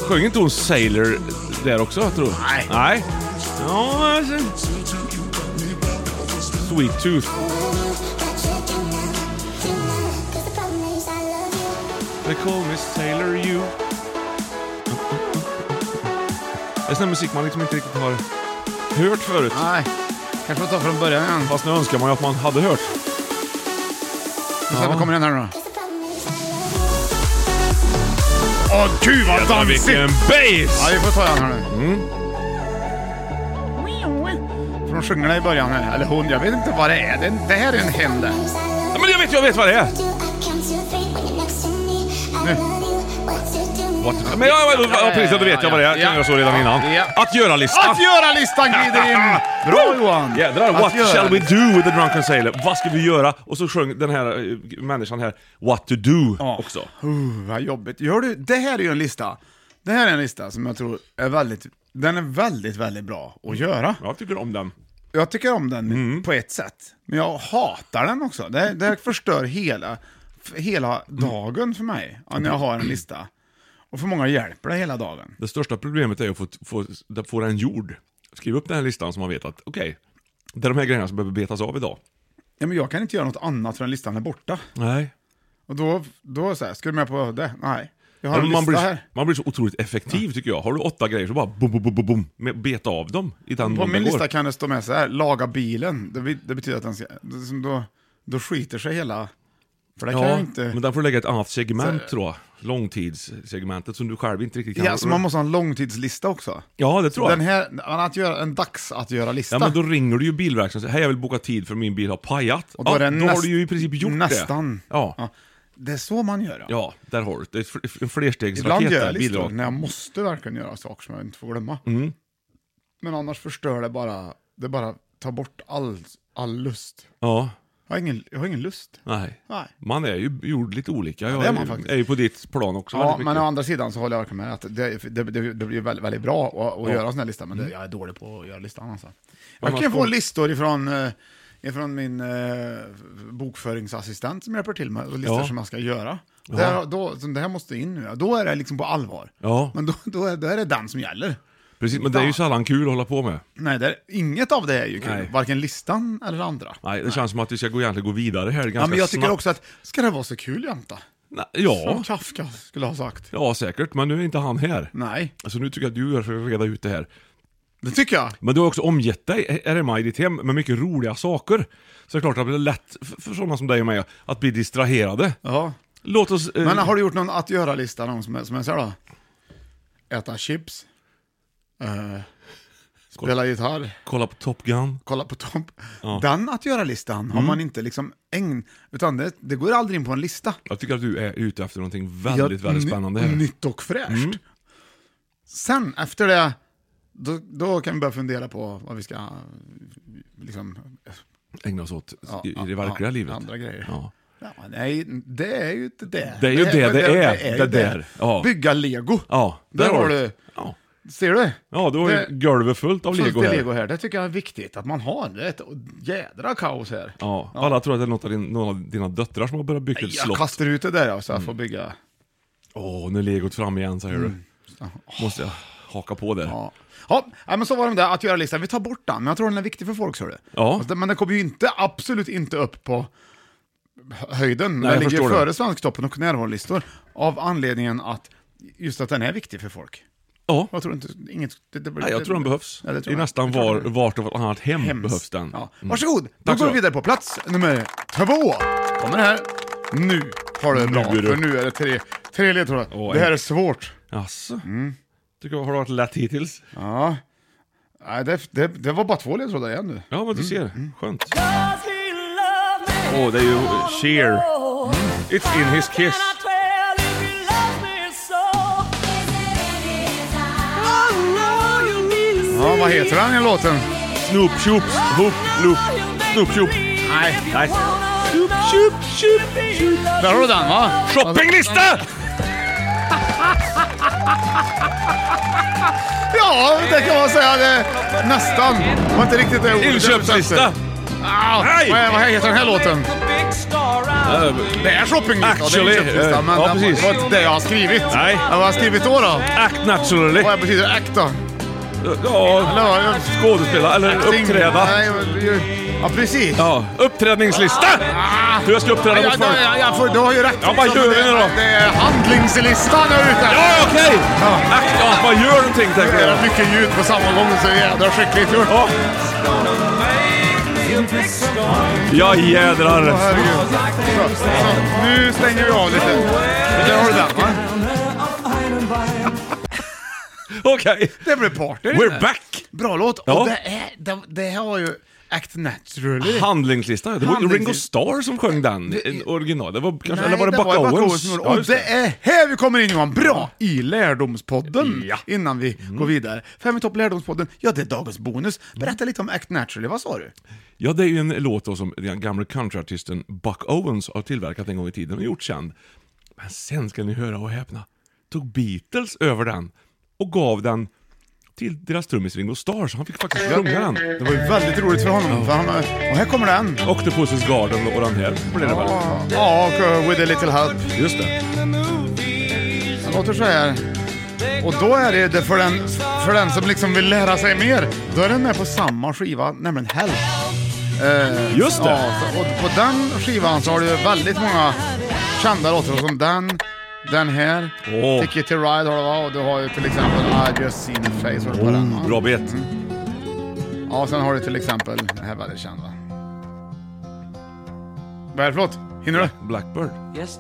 Sjöng inte hon Sailor där också, jag tror Nej. Nej. Ja, alltså. Sweet Tooth. They call me Sailor You. Det är sån här musik man liksom inte riktigt har hört förut. Nej, kanske får ta från början igen. Fast nu önskar man ju att man hade hört. Och sen kommer den här då. Åh gud vad Jävlar, vilken dansigt! Ja, bass! vi får ta den här nu. Mm. För de sjunger det i början här, eller hon, jag vet inte vad det är. Det, det här är en händer. Ja, men jag vet, jag vet vad det är! What? Ja, Men jag, jag, ja, precis, då vet jag vad det är. Jag kan göra så redan innan. Ja. Att göra-lista. Att göra-listan glider in! Bra Johan! Jädrar, Att what göra- shall we do with the drunken sailor? Vad ska vi göra? Och så sjöng den här eh, människan här, what to do också. Uh, vad jobbigt. Gör du, det här är ju en lista. Det här är en lista som jag tror är väldigt, den är väldigt, väldigt bra att göra. Jag tycker om den. Jag tycker om den Mm. på ett sätt, men jag hatar den också. Det, här- det här förstör hela, f- hela dagen för mig, ja, när jag har en lista. Och för många hjälper det hela dagen. Det största problemet är att få, få, få den gjord. Skriv upp den här listan så man vet att, okej, det är de här grejerna som behöver betas av idag. Ja, men jag kan inte göra något annat förrän listan är borta. Nej. Och då, då är det så här, ska du med på det? Nej. Jag har en lista Man blir, så- här. man blir så otroligt effektiv tycker jag. Har du åtta grejer så bara bom, bom, bom, bom, bom. med- Beta av dem i den På mån det min lista går. kan det stå med så här, laga bilen. Det, be- det betyder att den ska, det, som då, då skiter sig hela För det kan Ja, jag inte... men den får du lägga ett annat segment Så- tror jag. Långtidssegmentet som du själv inte riktigt kan. Ja, så man måste ha en långtidslista också. ja det tror jag. Den här, men att göra en dags att göra-lista. Ja men då ringer du ju bilverkstaden och säger hej jag vill boka tid för min bil har pajat. Och då ja, är det då har näst- du ju i princip gjort nästan. det. Ja. Ja. Det är så man gör. Ja. Ja, där har du det. det. är fl- En Ibland flerstegsraket gör där, jag listor bidrag. Mm. när jag måste verkligen göra saker som jag inte får glömma. Men annars förstör det bara, det bara tar bort all, all lust. Ja, Jag har ingen, jag har ingen lust. nej. Nej. Man är ju gjord lite olika. Jag det är är, man ju- faktiskt. är ju på ditt plan också Ja, väldigt men mycket. å andra sidan så håller jag verkligen med att det, det, det, det blir väldigt, väldigt bra att, att göra en sån här lista, men Mm. det, jag är dålig på att göra listan alltså. Jag kan få listor ifrån, eh, ifrån min eh, bokföringsassistent som hjälper till med och listor Ja. som jag ska göra. Det här, då, så det här måste in nu, ja. då är det liksom på allvar. Ja. Men då, då, är, då är det den som gäller. Precis, men det är ju sällan kul att hålla på med. Nej, det är, inget av det är ju kul, Nej. varken listan eller det andra. Nej, det känns som att vi ska gå, egentligen gå vidare här ganska Ja, men jag tycker snabbt. också att, ska det vara så kul jämta? Nej, Som ja, Kafka skulle ha sagt. ja, säkert. Men nu är inte han här. Nej, Så Alltså, nu tycker jag att du gör för att reda ut det här. det tycker jag. Men du har också omgett dig, RMA, i ditt hem med mycket roliga saker. Så det är klart att det är lätt för, för sådana som dig och mig att bli distraherade. Ja. Låt oss... eh, Men har du gjort någon att göra-lista någon som, är- som är såhär då? Äta chips. eh, spela gitarr. kolla på Top Gun. Kolla på Tom. Den att göra-listan Mm. har man inte liksom ägn... Utan det, det går aldrig in på en lista. Jag tycker att du är ute efter någonting väldigt, Ja, väldigt ny- spännande här. Mm. Nytt och fräscht. Sen efter det, då, då kan vi börja fundera på vad vi ska eh, liksom, Ägna oss åt Ja, i, i det ja, verkliga ja, livet. andra grejer. Ja. Ja, nej, det är ju inte det. Det är ju det det är, ju det där. Ja. Bygga lego. ja, Där har du. Ja, Ser du? ja då är Det- golvet fullt av Fullt lego i här. lego här. Det tycker jag är viktigt att man har. Det är ett jädra kaos här. Ja. alla tror att det är något av din, någon av dina döttrar som har börjat bygga ett Jag slott. Mm. kastar ut det där ja, så jag får bygga. Åh, nu är legot fram igen säger du. Måste jag haka på där. Mm. Ja. Ja, nej, men så var det med det, att göra-listan. Vi tar bort den, men jag tror den är viktig för folk, ser du. Ja. Alltså, men den kommer ju inte, absolut inte upp på hö- höjden. Nej, jag den ligger förstår det. före Svensktoppen och närvarolistor av anledningen att just att den är viktig för folk. Ja. Jag tror inte, inget, det, det, Nej, jag tror den behövs. Ja, det tror I jag. nästan Det är klart var, den vart och vartannat hem Hems. behövs den. Ja. Mm. Varsågod, då Tack så går vi mycket. vidare på plats nummer två. Kommer det här. Nu har du det bra, är det- för nu är det tre, tre ledtrådar. Åh, det här en- är svårt. Jaså? Mm. Tycker jag, har det varit lätt hittills? Ja. Nej, det, det, det var bara två ledtrådar igen nu. Ja, men du ser. Mm. Skönt. Åh, det är ju eh, Cher. It's in his kiss. Ja, vad heter den här låten? Snoop Shoops, Hoop Loop. Snoop Shoop. Nej. Nej. Snoop Shoop Shoop Shoop. Där har du den va? Shoppinglista! Ja, det kan man säga. Det, nästan. Det var inte riktigt det ordet. Inköpslista! Ah, Nej. vad, vad heter den här låten? Eh, Det är shoppinglista. Actually, det är inköpslista, eh, men ja, den- precis. det var inte det jag har skrivit. Nej. Ja, Vad har jag skrivit då? då? Act naturally. Vad betyder act då? Eh, Eller Ja, vad? skådespela eller uppträda. Nej, men ju- Ja, precis. Ja, uppträdningslista! Ah. Hur jag ska Ja, uppträda ja, mot ja, folk. ja, ja, för, du har ju rätt. liksom. Ja, vad gör vi nu då? Det är handlingslistan här ute. Ja, okej! Act- Ja, vad gör någonting Det tänker jag. är mycket ljud på samma gång, så jädra skickligt gjort. Ja. Ja Åh, jädrar. herregud. Så, så, nu stänger vi av lite. Där har du den va? Okej. Det blev party. We're back! Bra låt. Ja. Och det, är, det, det här var ju Act Naturally. Handlingslista, det var ju Handlingslista. Ringo Starr som sjöng den i original. Det var kanske, eller var det det Buck Buck Owens? som gjorde- Ja, Och just det. det är här vi kommer in Johan, bra! I Lärdomspodden, Ja. innan vi går vidare. Fem i topp Lärdomspodden, ja det är dagens bonus. Berätta lite om Act Naturally, vad sa du? Ja, det är ju en låt då som den gamla countryartisten Buck Owens har tillverkat en gång i tiden och gjort känd. Men sen ska ni höra och häpna. Tog Beatles över den och gav den till deras trummis Ringo Starr, så han fick faktiskt sjunga den. Det var ju väldigt roligt för honom, för han, och här kommer den. Octopus's Garden och den här blev det väl? Ja, Ja, och uh, With a little help. Just det. Den låter så här. Och då är det, det för, den, för den som liksom vill lära sig mer, då är den med på samma skiva, nämligen Help. Eh, Just det. Ja, så- och på den skivan så har du ju väldigt många kända låtar som den, den här, Åh. Ticket to Ride har du va? Och du har ju till exempel I just seen a face. har du på den, va? Oh, bra bet. Ja, sen har du till exempel, den här är väldigt känd va? Vad är det för låt? Hinner du? Blackbird. Nej, yes,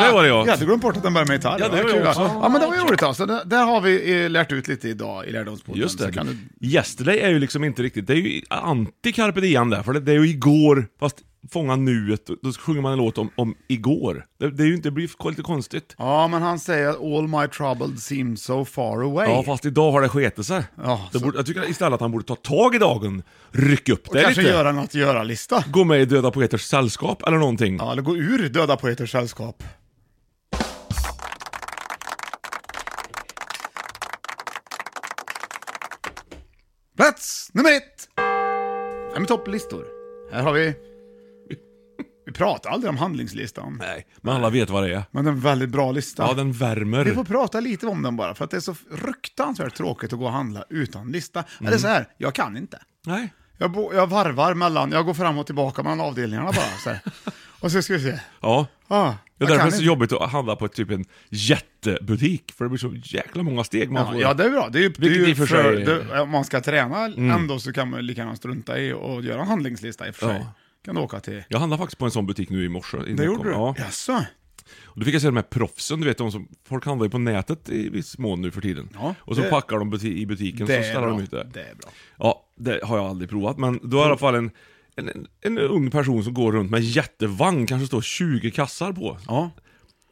där var det jag. Jag hade glömt bort att den började med gitarr. Ja, det var kul. jag också. Ja, men det var ju roligt alltså. Det- Där har vi eh, lärt ut lite idag i Lärdomspodden. Just Så det. Kan du... Yesterday är ju liksom inte riktigt, det är ju anti-carpe diem där, för det, det är ju igår, fast fånga nuet, då sjunger man en låt om, om igår. Det, det är ju inte, det blir lite konstigt. Ja, men han säger att all my troubles seem so far away. Ja, fast idag har det sketit sig. Ja, Det så- borde, jag tycker istället att han borde ta tag i dagen, rycka upp Och det kanske lite. göra en att göra-lista. Gå med i Döda Poeters Sällskap eller någonting. Ja, eller gå ur Döda Poeters Sällskap. Plats nummer ett! Fem i topplistor. Här har vi... Vi pratar aldrig om handlingslistan, Nej, men alla vet vad det är. men det är en väldigt bra lista. Ja, den värmer. Vi får prata lite om den bara, för att det är så fruktansvärt tråkigt att gå och handla utan lista. Mm. Eller så här, jag kan inte. Nej. Jag, bo, jag varvar mellan, jag går fram och tillbaka mellan avdelningarna bara. Så här. Och så ska vi se. Ja. Det Ah, är jag därför det kan är så inte. jobbigt att handla på typ en jättebutik, för det blir så jäkla många steg man Ja, får. ja, det är bra. Det är ju, det är Vilket i ju och för för sig- Mm. det, om man ska träna ändå så kan man lika gärna strunta i och göra en handlingslista i och för sig. Ja. Kan du åka till... Jag handlade faktiskt på en sån butik nu i morse. innan Det jag gjorde du? kom. Ja. Jaså? Och då fick jag se de här proffsen, du vet de som, folk handlar ju på nätet i viss mån nu för tiden. Ja, och så det- packar de buti- i butiken Det så är ställer de bra. ut det. Det är bra. Ja, det har jag aldrig provat, men då är i alla fall en, en, en, en ung person som går runt med en jättevagn, kanske står 20 kassar på. Ja.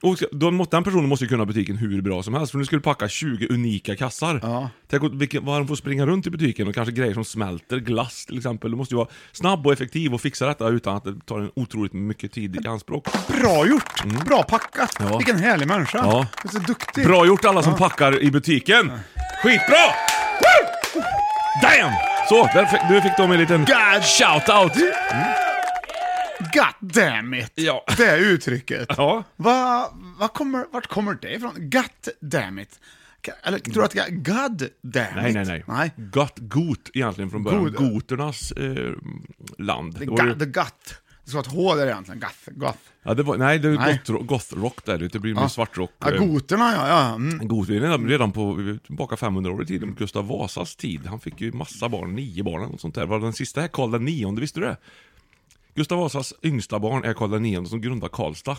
Och ska- då, må- den personen måste ju kunna butiken hur bra som helst, för nu skulle du packa 20 unika kassar. Ja. Tänk åt vilken, vad han får springa runt i butiken och kanske grejer som smälter, glass till exempel. Du måste ju vara snabb och effektiv och fixa detta utan att det tar en otroligt mycket tid i anspråk. Bra gjort! Bra packat! Mm. Ja. Vilken härlig människa! Ja. Du är så duktig! Bra gjort alla som packar i butiken! Skitbra! Woo! Damn! Så, där fick, nu fick de en liten God. shout-out! God damn it! Ja. Det uttrycket. Ja. Va, va kommer, vart kommer det ifrån? God damn it! Ka- Eller tror du att jag... God damn Nej, it! nej, nej. nej. Gott gut egentligen från början. God. Goternas eh, land. The, Det var ga, ju, the gut. Det ska vara ett H där egentligen. Gath, goth. ja, det var, nej, det är ju Nej. gothro- gothrock där. Det blir mer svartrock. Ja, eh, goterna ja, ja. Mm. Goth, redan, redan på, tillbaka 500 år i tiden, Gustav Vasas tid. Han fick ju massa barn, nio barn eller något sånt där. Var den sista här Karl den nionde, visste du det? Gustav Vasas yngsta barn är Karl den nionde som grundar Karlstad.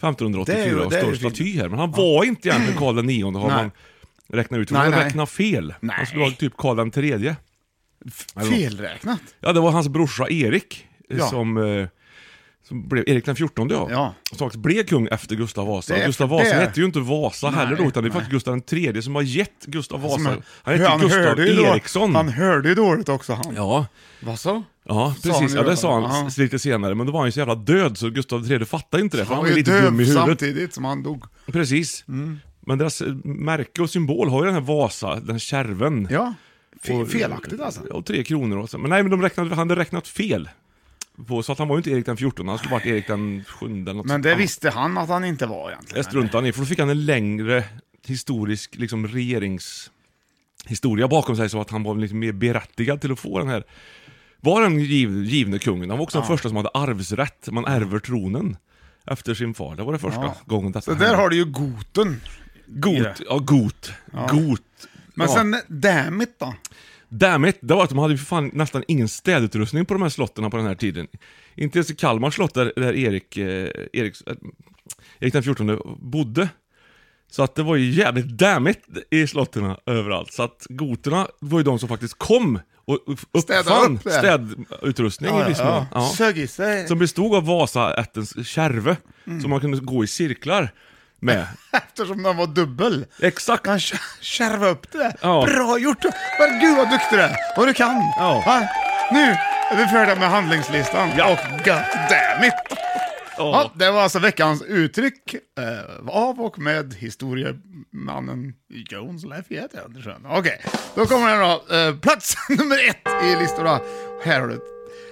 1584 Det är ju- och det är står ju fint. staty här. Men han var inte egentligen Karl den nionde har Nej. man räknat ut. För Nej, han nej. räknade fel. Han skulle vara Nej. typ Karl den tredje. Eller något. Felräknat. Ja, det var hans brorsa Erik eh, Ja. som, eh, som blev Erik den fjortonde ja. Ja. Som faktiskt blev kung efter Gustav Vasa. Det är Gustav för Vasa det. hette ju inte Vasa heller då, utan det är nej. faktiskt Gustav den tredje som har gett Gustav Vasa. Som- han hette ju Gustav ju då- Eriksson. Han hörde ju dåligt också han. Ja. Vad så? Ja, Sa han precis. ju Ja, då. det sa Ja. han s- lite senare, men då var han ju så jävla död så Gustav III fattade inte det, för han Han var var ju lite dum i döv huvudet. samtidigt Mm. som han dog. Precis. Men deras eh, märke och symbol har ju den här Vasa, den här kärven. Ja. Fe- Och- felaktigt alltså. Ja, och tre kronor och så. Men nej, men de räknade, han hade räknat fel. På, så att han var ju inte Erik den 14, han skulle varit Erik den 7 eller något Men sånt det annat. visste han att han inte var Det egentligen. struntade han i, för då fick han en längre historisk liksom, regeringshistoria bakom sig så att han var lite mer berättigad till att få den här var den giv, givne kungen. Han var också den första som hade arvsrätt. Man ärver tronen efter sin far. Det var det första Ja. gången detta Så där har du ju goten. Got, ja, got, got. Men ja. sen, damn it då. Damn it, det var att de hade ju för fan nästan ingen städutrustning på de här slotten på den här tiden. Inte ens i Kalmar slott där, där Erik, eh, Eriks, eh, Erik den 14 bodde. Så att det var ju jävligt damn it i slotten överallt. Så att goterna var ju de som faktiskt kom och uppfann upp det. städutrustning i viss mån. Ja. Sög i Mm. sig. Som bestod av Vasaättens kärve, som man kunde gå i cirklar med. Eftersom den var dubbel. Exakt! Han kär- kärva upp det. Ja. Bra gjort! Men gud vad duktig du är! Vad du kan! Ja. Va? Nu är vi färdiga med handlingslistan. Ja. Och god damn it. Ja, det var alltså veckans uttryck eh, av och med historiemannen Jones Leff heter han, tror jag. Okej, då kommer den då. Eh, plats nummer ett i listorna. Här har du.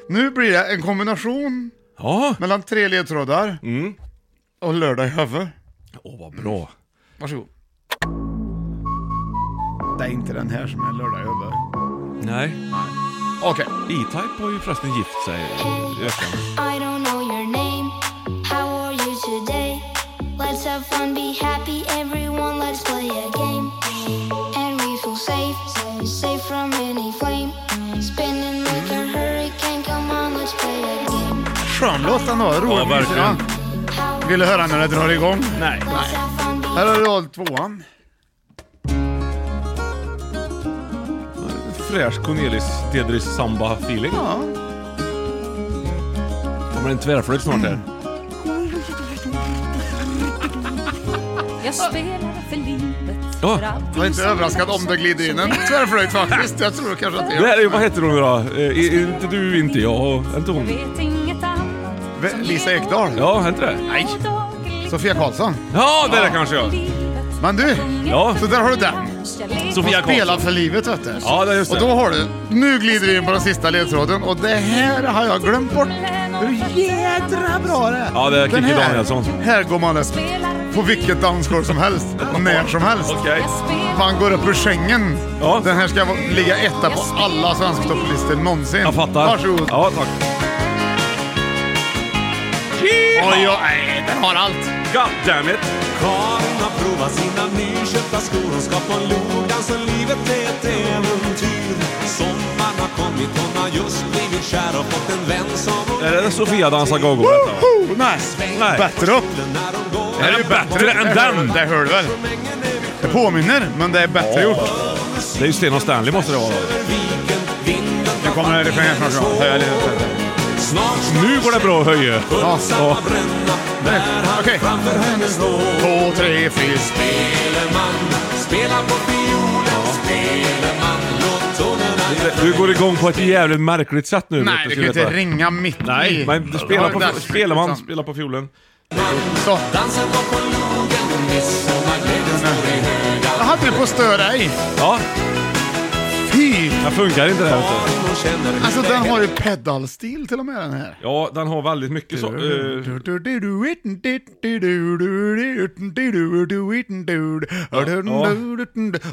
Nu blir det en kombination Ja, mellan tre ledtrådar Mm. och lördag i huvudet. åh vad bra. Varsågod. Det är inte den här som är lördag i huvudet. Nej. Okej. E-Type har ju förresten gift sig i veckan. I don't know your name. How are you today? Let's have fun, be happy, everyone. Let's play a game. And we feel safe, safe from any flame. Spinning like a hurricane, come on, let's play a game. skön låt ändå. Rolig Ja, verkligen. musik. Vill du höra när det drar igång? Nej. Här har du rad tvåan. Fräsch Cornelis Tedris samba-feeling. Ja. Kommer en tvärflöjt snart Mm. här. Jag spelar för livet. Ja. för allt Jag är inte som överraskad om det glider in en tvärflöjt faktiskt. Jag tror kanske att det Det är... här är ju, vad heter hon då? Eh, i- inte du, inte jag, inte hon. Vet inget annat. V- Lisa Ekdahl. Ja, hände det? Nej. Sofia Karlsson. Ja, det där kanske jag. Men du, Ja. så där har du den. Sofia Spela Karlsson. för livet vet du. Ja, det är just Och då det. har du, nu glider du in på den sista ledtråden och det här har jag glömt bort. Hur jädra bra det är. Ja, det är Den Kikki här- Danielsson. Här går man upp på vilket dansgolv som helst, och när som helst. Okej. Man går upp ur sängen. Ja. Den här ska vara- ligga etta på alla svenska topplistor någonsin. Jag fattar. Varsågod. Ja, tack. Oj, oj, nej, den har allt. God damn it! Karin har provat sina nyköpta skor Hon ska på logans och livet är ett äventyr Sommaren har kommit, hon har just blivit kär och fått en vän som hon Är det Sofia dansar go-go? detta? Woho! Nej, Nej. bättre upp. Det här är bättre än den! Det hör du väl? Det påminner, men det är bättre gjort. Det är ju Sten och Stanley måste det vara. Nu kommer refrängen snart. ja. Höja lite. Nu går det bra att höja. Ja. Ja. Nej, Okej. Två, tre, fyra. Du går igång på ett jävligt märkligt sätt nu. vet Nej, du kan ska ju inte veta. ringa mitt i. Nej, men spela Det var på, dags, spelar man liksom. spelar på fiolen. Så. Jag hade det på att störa dig. Ja, Fy! den funkar inte där ute. Alltså den har ju pedalstil till och med den här. Ja, den har väldigt mycket så. eh,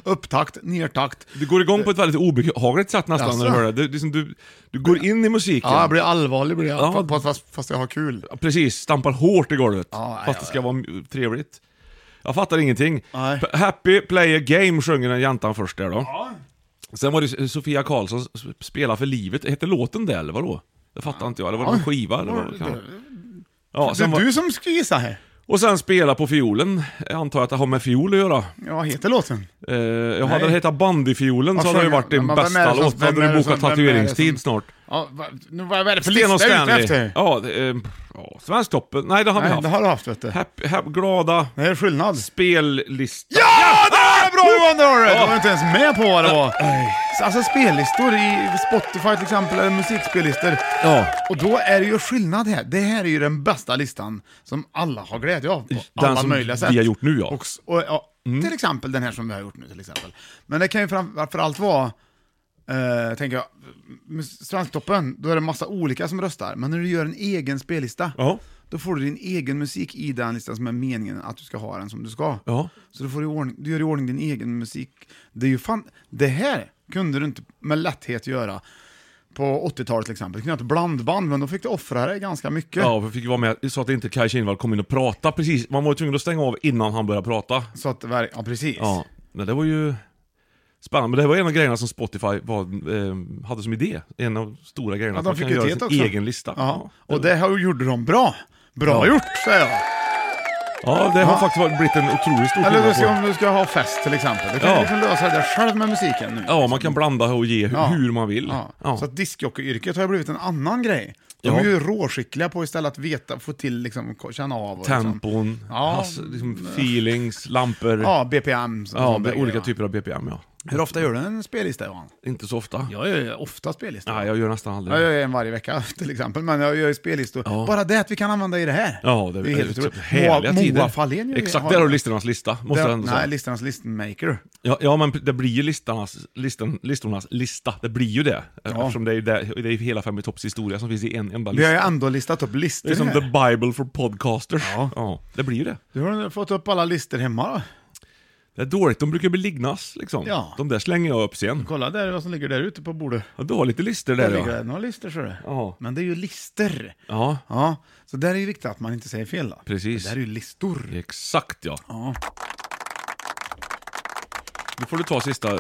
Upptakt, nertakt. Du går igång på ett väldigt obehagligt sätt nästan när du Jaså? hör det. Du, liksom, du, du går in i musiken. Alltså. Ja, jag blir allvarlig blir jag. Ja. Fa- Fast, fast, fast jag har kul. Precis, stampar hårt i golvet. Ja, ja, fast det ska vara m- trevligt. Jag fattar ingenting. Nej. P- Happy Play a Game sjunger den jantan först där då. Sen var det S- Sofia Karlsson, s- Spela för livet. Hette låten det eller vadå? Det fattar inte jag. Eller var det någon skiva eller vad det kan vara? Ja, Det sen är var, du som ska gissa här. Och sen Spela på fiolen. Jag antar att det har med fiol att göra. Ja, vad heter låten? Eh, jag hade det hetat Bandyfiolen Vad så hade det ju sjunger- varit din men vem är bästa det som- låt. Då hade vem är du det bokat som- vem är det tatueringstid som- snart. Ja, va, nu, vad är det för Sten och lista jag är ute Stanley. efter? Ja, det, eh, ja, Svensktoppen. Nej, det har vi Nej, haft. det har du haft vet du. Happy, happy, glada Det är skillnad. spellista. Ja! Det var bra Johan! Det var det! Ja. Du var inte ens med på vad det var. Alltså spellistor i Spotify till exempel, eller musikspellistor. Ja. Och då är det ju skillnad här. Det här är ju den bästa listan som alla har glädje av på Den alla som möjliga vi sätt. har gjort nu, ja. Mm. Och, s- och, ja Till exempel den här som vi har gjort nu till exempel. Men det kan ju framförallt vara, eh, tänker jag, med Svensktoppen, då är det massa olika som röstar. Men när du gör en egen spellista, Ja. då får du din egen musik i den listan som är meningen att du ska ha den som du ska. Ja. Så du, får i ordning, du gör i ordning din egen musik. Det är ju fan, det här kunde du inte med lätthet göra på 80-talet till exempel. Du kunde ha ett blandband, men då fick du offra dig ganska mycket. Ja, vi fick ju vara med så att inte Kaj Kinnvall kom in och prata precis. Man var ju tvungen att stänga av innan han började prata. Så att, det var- ja precis. Ja, men det var ju spännande. Men det var en av grejerna som Spotify var, eh, hade som idé. En av de stora grejerna. Ja, att de man fick kan ju göra det sin också. egen lista. Ja. Och det här gjorde de bra. Bra Ja. gjort, säger jag. Ja, det har faktiskt varit- blivit en otroligt stor Eller du skillnad ska, på. om du ska ha fest till exempel. Du kan Ja. liksom lösa det själv med musiken nu. Ja, man kan blanda och ge hu- Ja. hur man vill. Ja. Ja. Så att diskjockeyyrket har ju blivit en annan grej. De Ja. är ju råskickliga på istället att veta, få till, liksom, ko- känna av. Och Liksom. Tempon, Ja. hass, liksom feelings, lampor. Ja, Ja, BPM. så- ja sån med där olika typ- grej, typer av BPM ja. va. Hur ofta gör du en spellista Johan? Inte så ofta. Jag gör ju ofta spellistor. Nej, jag gör nästan aldrig Jag det. gör en varje vecka till exempel, men jag gör ju spellistor. Ja. Bara det att vi kan använda i det här. Ja, det, typ det är helt otroligt. härliga Moa, tider. Moa Fahlén gör ju- Exakt, har- där har du listornas lista, måste jag Den, ändå nej, säga. listornas listmaker. Ja, ja, men det blir ju listornas, listan, listornas lista, det blir ju det. Eftersom det är ju det, det är ju hela Fem i topps historia som finns i en enda Vi lista. har ju ändå listat upp det listor är som här. the bible for podcasters. Ja. det blir ju det. Du har fått upp alla listor hemma då? Det är dåligt, de brukar bli lignas liksom. Ja. De där slänger jag upp sen. Kolla där vad som ligger där ute på bordet. Ja, du har lite listor Där där ligger det ja. några listor ser du. Ja. Men det är ju listor. Ja, Ja, så där är ju viktigt att man inte säger fel då. Precis. Det där är ju listor. exakt ja. Ja. Då får du ta sista eh,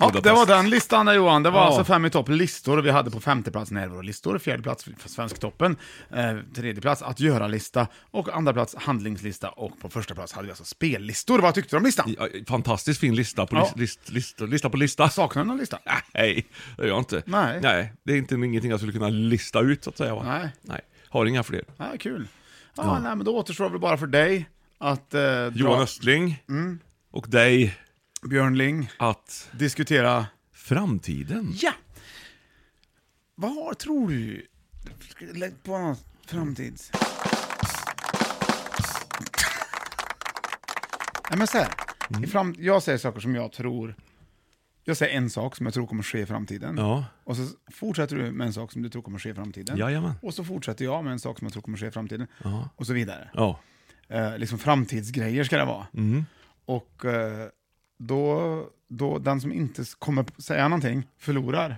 Ja, Budapest. det var den listan där Johan. Det var Ja. alltså fem i topp listor. Vi hade på femte plats närvarolistor, fjärde plats för Svensktoppen, eh, tredje plats att göra-lista och andra plats handlingslista och på första plats hade vi alltså spellistor. Vad tyckte du om listan? Ja, Fantastiskt fin lista på, Ja. list, list, list, lista på lista. Saknar du någon lista? Nej, det gör jag inte. Nej. Nej, det är inte ingenting jag skulle kunna lista ut så att säga va? Nej. Nej. Har inga fler. Ja, kul. Ja, Nej, men då återstår väl bara för dig att eh, dra- Johan Östling Mm. och dig Björn Ling att diskutera... framtiden. Ja! Vad har, tror du? Lägg på något framtids... Nej, men så här. I fram, jag säger saker som jag tror... Jag säger en sak som jag tror kommer ske i framtiden. Ja. Och så fortsätter du med en sak som du tror kommer ske i framtiden. Jajamän. Och så fortsätter jag med en sak som jag tror kommer ske i framtiden. Och så vidare. Ja. Mm. Eh, liksom framtidsgrejer ska det vara. Och eh, då, då den som inte s- kommer p- säga någonting förlorar.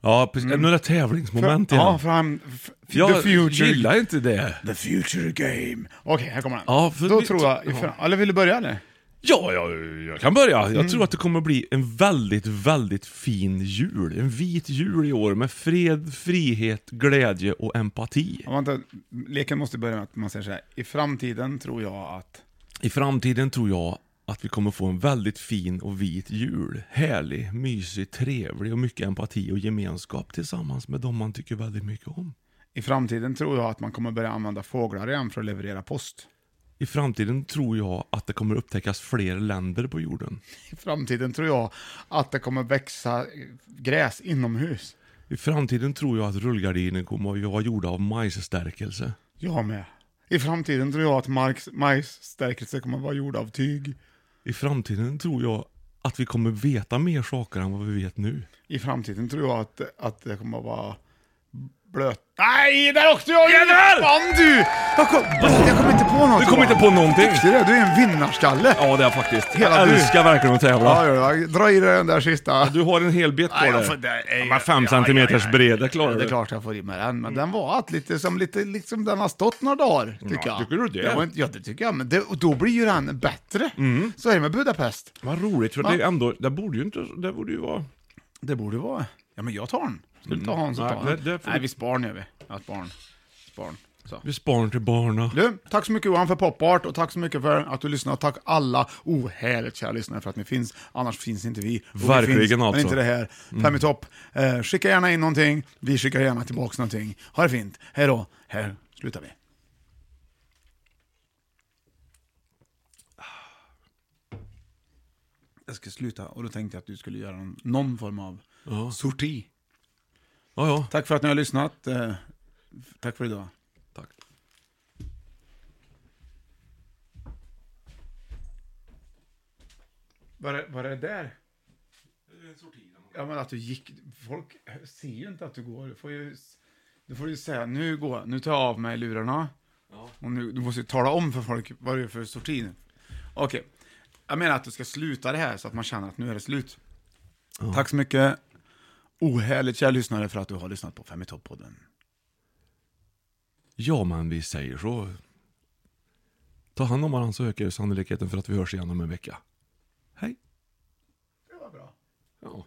Ja, precis. Nu är det tävlingsmoment Mm. För- igen. Ja, för han... f- f- jag the future. gillar inte det. The future game. Okej, här kommer den. Ja, för då vi- tror jag... För, eller vill du börja eller? Ja, jag, jag kan börja. Jag Mm. tror att det kommer bli en väldigt, väldigt fin jul. En vit jul i år med fred, frihet, glädje och empati. Ja, vänta, leken måste börja med att man säger så här. I framtiden tror jag att... I framtiden tror jag att vi kommer få en väldigt fin och vit jul. Härlig, mysig, trevlig och mycket empati och gemenskap tillsammans med de man tycker väldigt mycket om. I framtiden tror jag att man kommer börja använda fåglar igen för att leverera post. I framtiden tror jag att det kommer upptäckas fler länder på jorden. I framtiden tror jag att det kommer växa gräs inomhus. I framtiden tror jag att rullgardiner kommer att vara gjorda av majsstärkelse. Jag med. I framtiden tror jag att Marks, majsstärkelse kommer vara gjord av tyg. I framtiden tror jag att vi kommer veta mer saker än vad vi vet nu. I framtiden tror jag att, att det kommer vara blöt... Nej, där åkte jag ju! Fan du! Jag kom, jag kom inte på något. Du kom inte på någonting! Duktig du är, du är en vinnarskalle. Ja, det är jag faktiskt. Hela jag du. älskar verkligen att Ja, tävla. ja, ja. Dra i dig den där sista. Du har en hel bit Nej, kvar jag får- där. det är- Ja, men fem ja, centimeters ja, ja. breda klarar Mm. Ja, det är du. klart jag får i mig den, men den var att lite som lite, liksom den har stått några dagar, tycker jag. tycker du det? var inte, ja, det tycker jag, men det, och då blir ju den bättre. Mm. Så är det med Budapest. Vad roligt, för det, är ändå, det borde ju inte... Det borde ju vara... Det borde vara... Ja, men jag tar den. Ska du ta Hans och Mm. Nej, ta den? det- det får Nej, du- vi spar nu vi. Ja, spar den. Spar den. Så. Vi sparar till barna. Du, tack så mycket Johan för popart och tack så mycket för att du lyssnar. Tack alla ohärligt kära lyssnare för att ni finns. Annars finns inte vi. Och vi Verkligen finns, alltså. Men inte det här. Fem i topp. Eh, skicka gärna in någonting. Vi skickar gärna tillbaka någonting. Ha det fint. Hej då. Här slutar vi. Jag ska sluta och då tänkte jag att du skulle göra någon, någon form av sorti. Ja, ja. Tack för att ni har lyssnat. Eh, tack för idag. Tack. Var det, var det där? Eh, Ja, men att du gick. Folk ser ju inte att du går. Du får ju, du får ju säga, nu går jag. nu tar jag av mig lurarna. Och nu, du måste ju tala om för folk vad det är för sorti nu. Okej, jag menar att du ska sluta det här så att man känner att nu är det slut. Tack så mycket, ohärligt kära lyssnare, för att du har lyssnat på Fem i topp-podden. Ja, men vi säger så. Ta hand om varandra så ökar ju sannolikheten för att vi hörs igen om en vecka. Hej. Det var bra. Ja.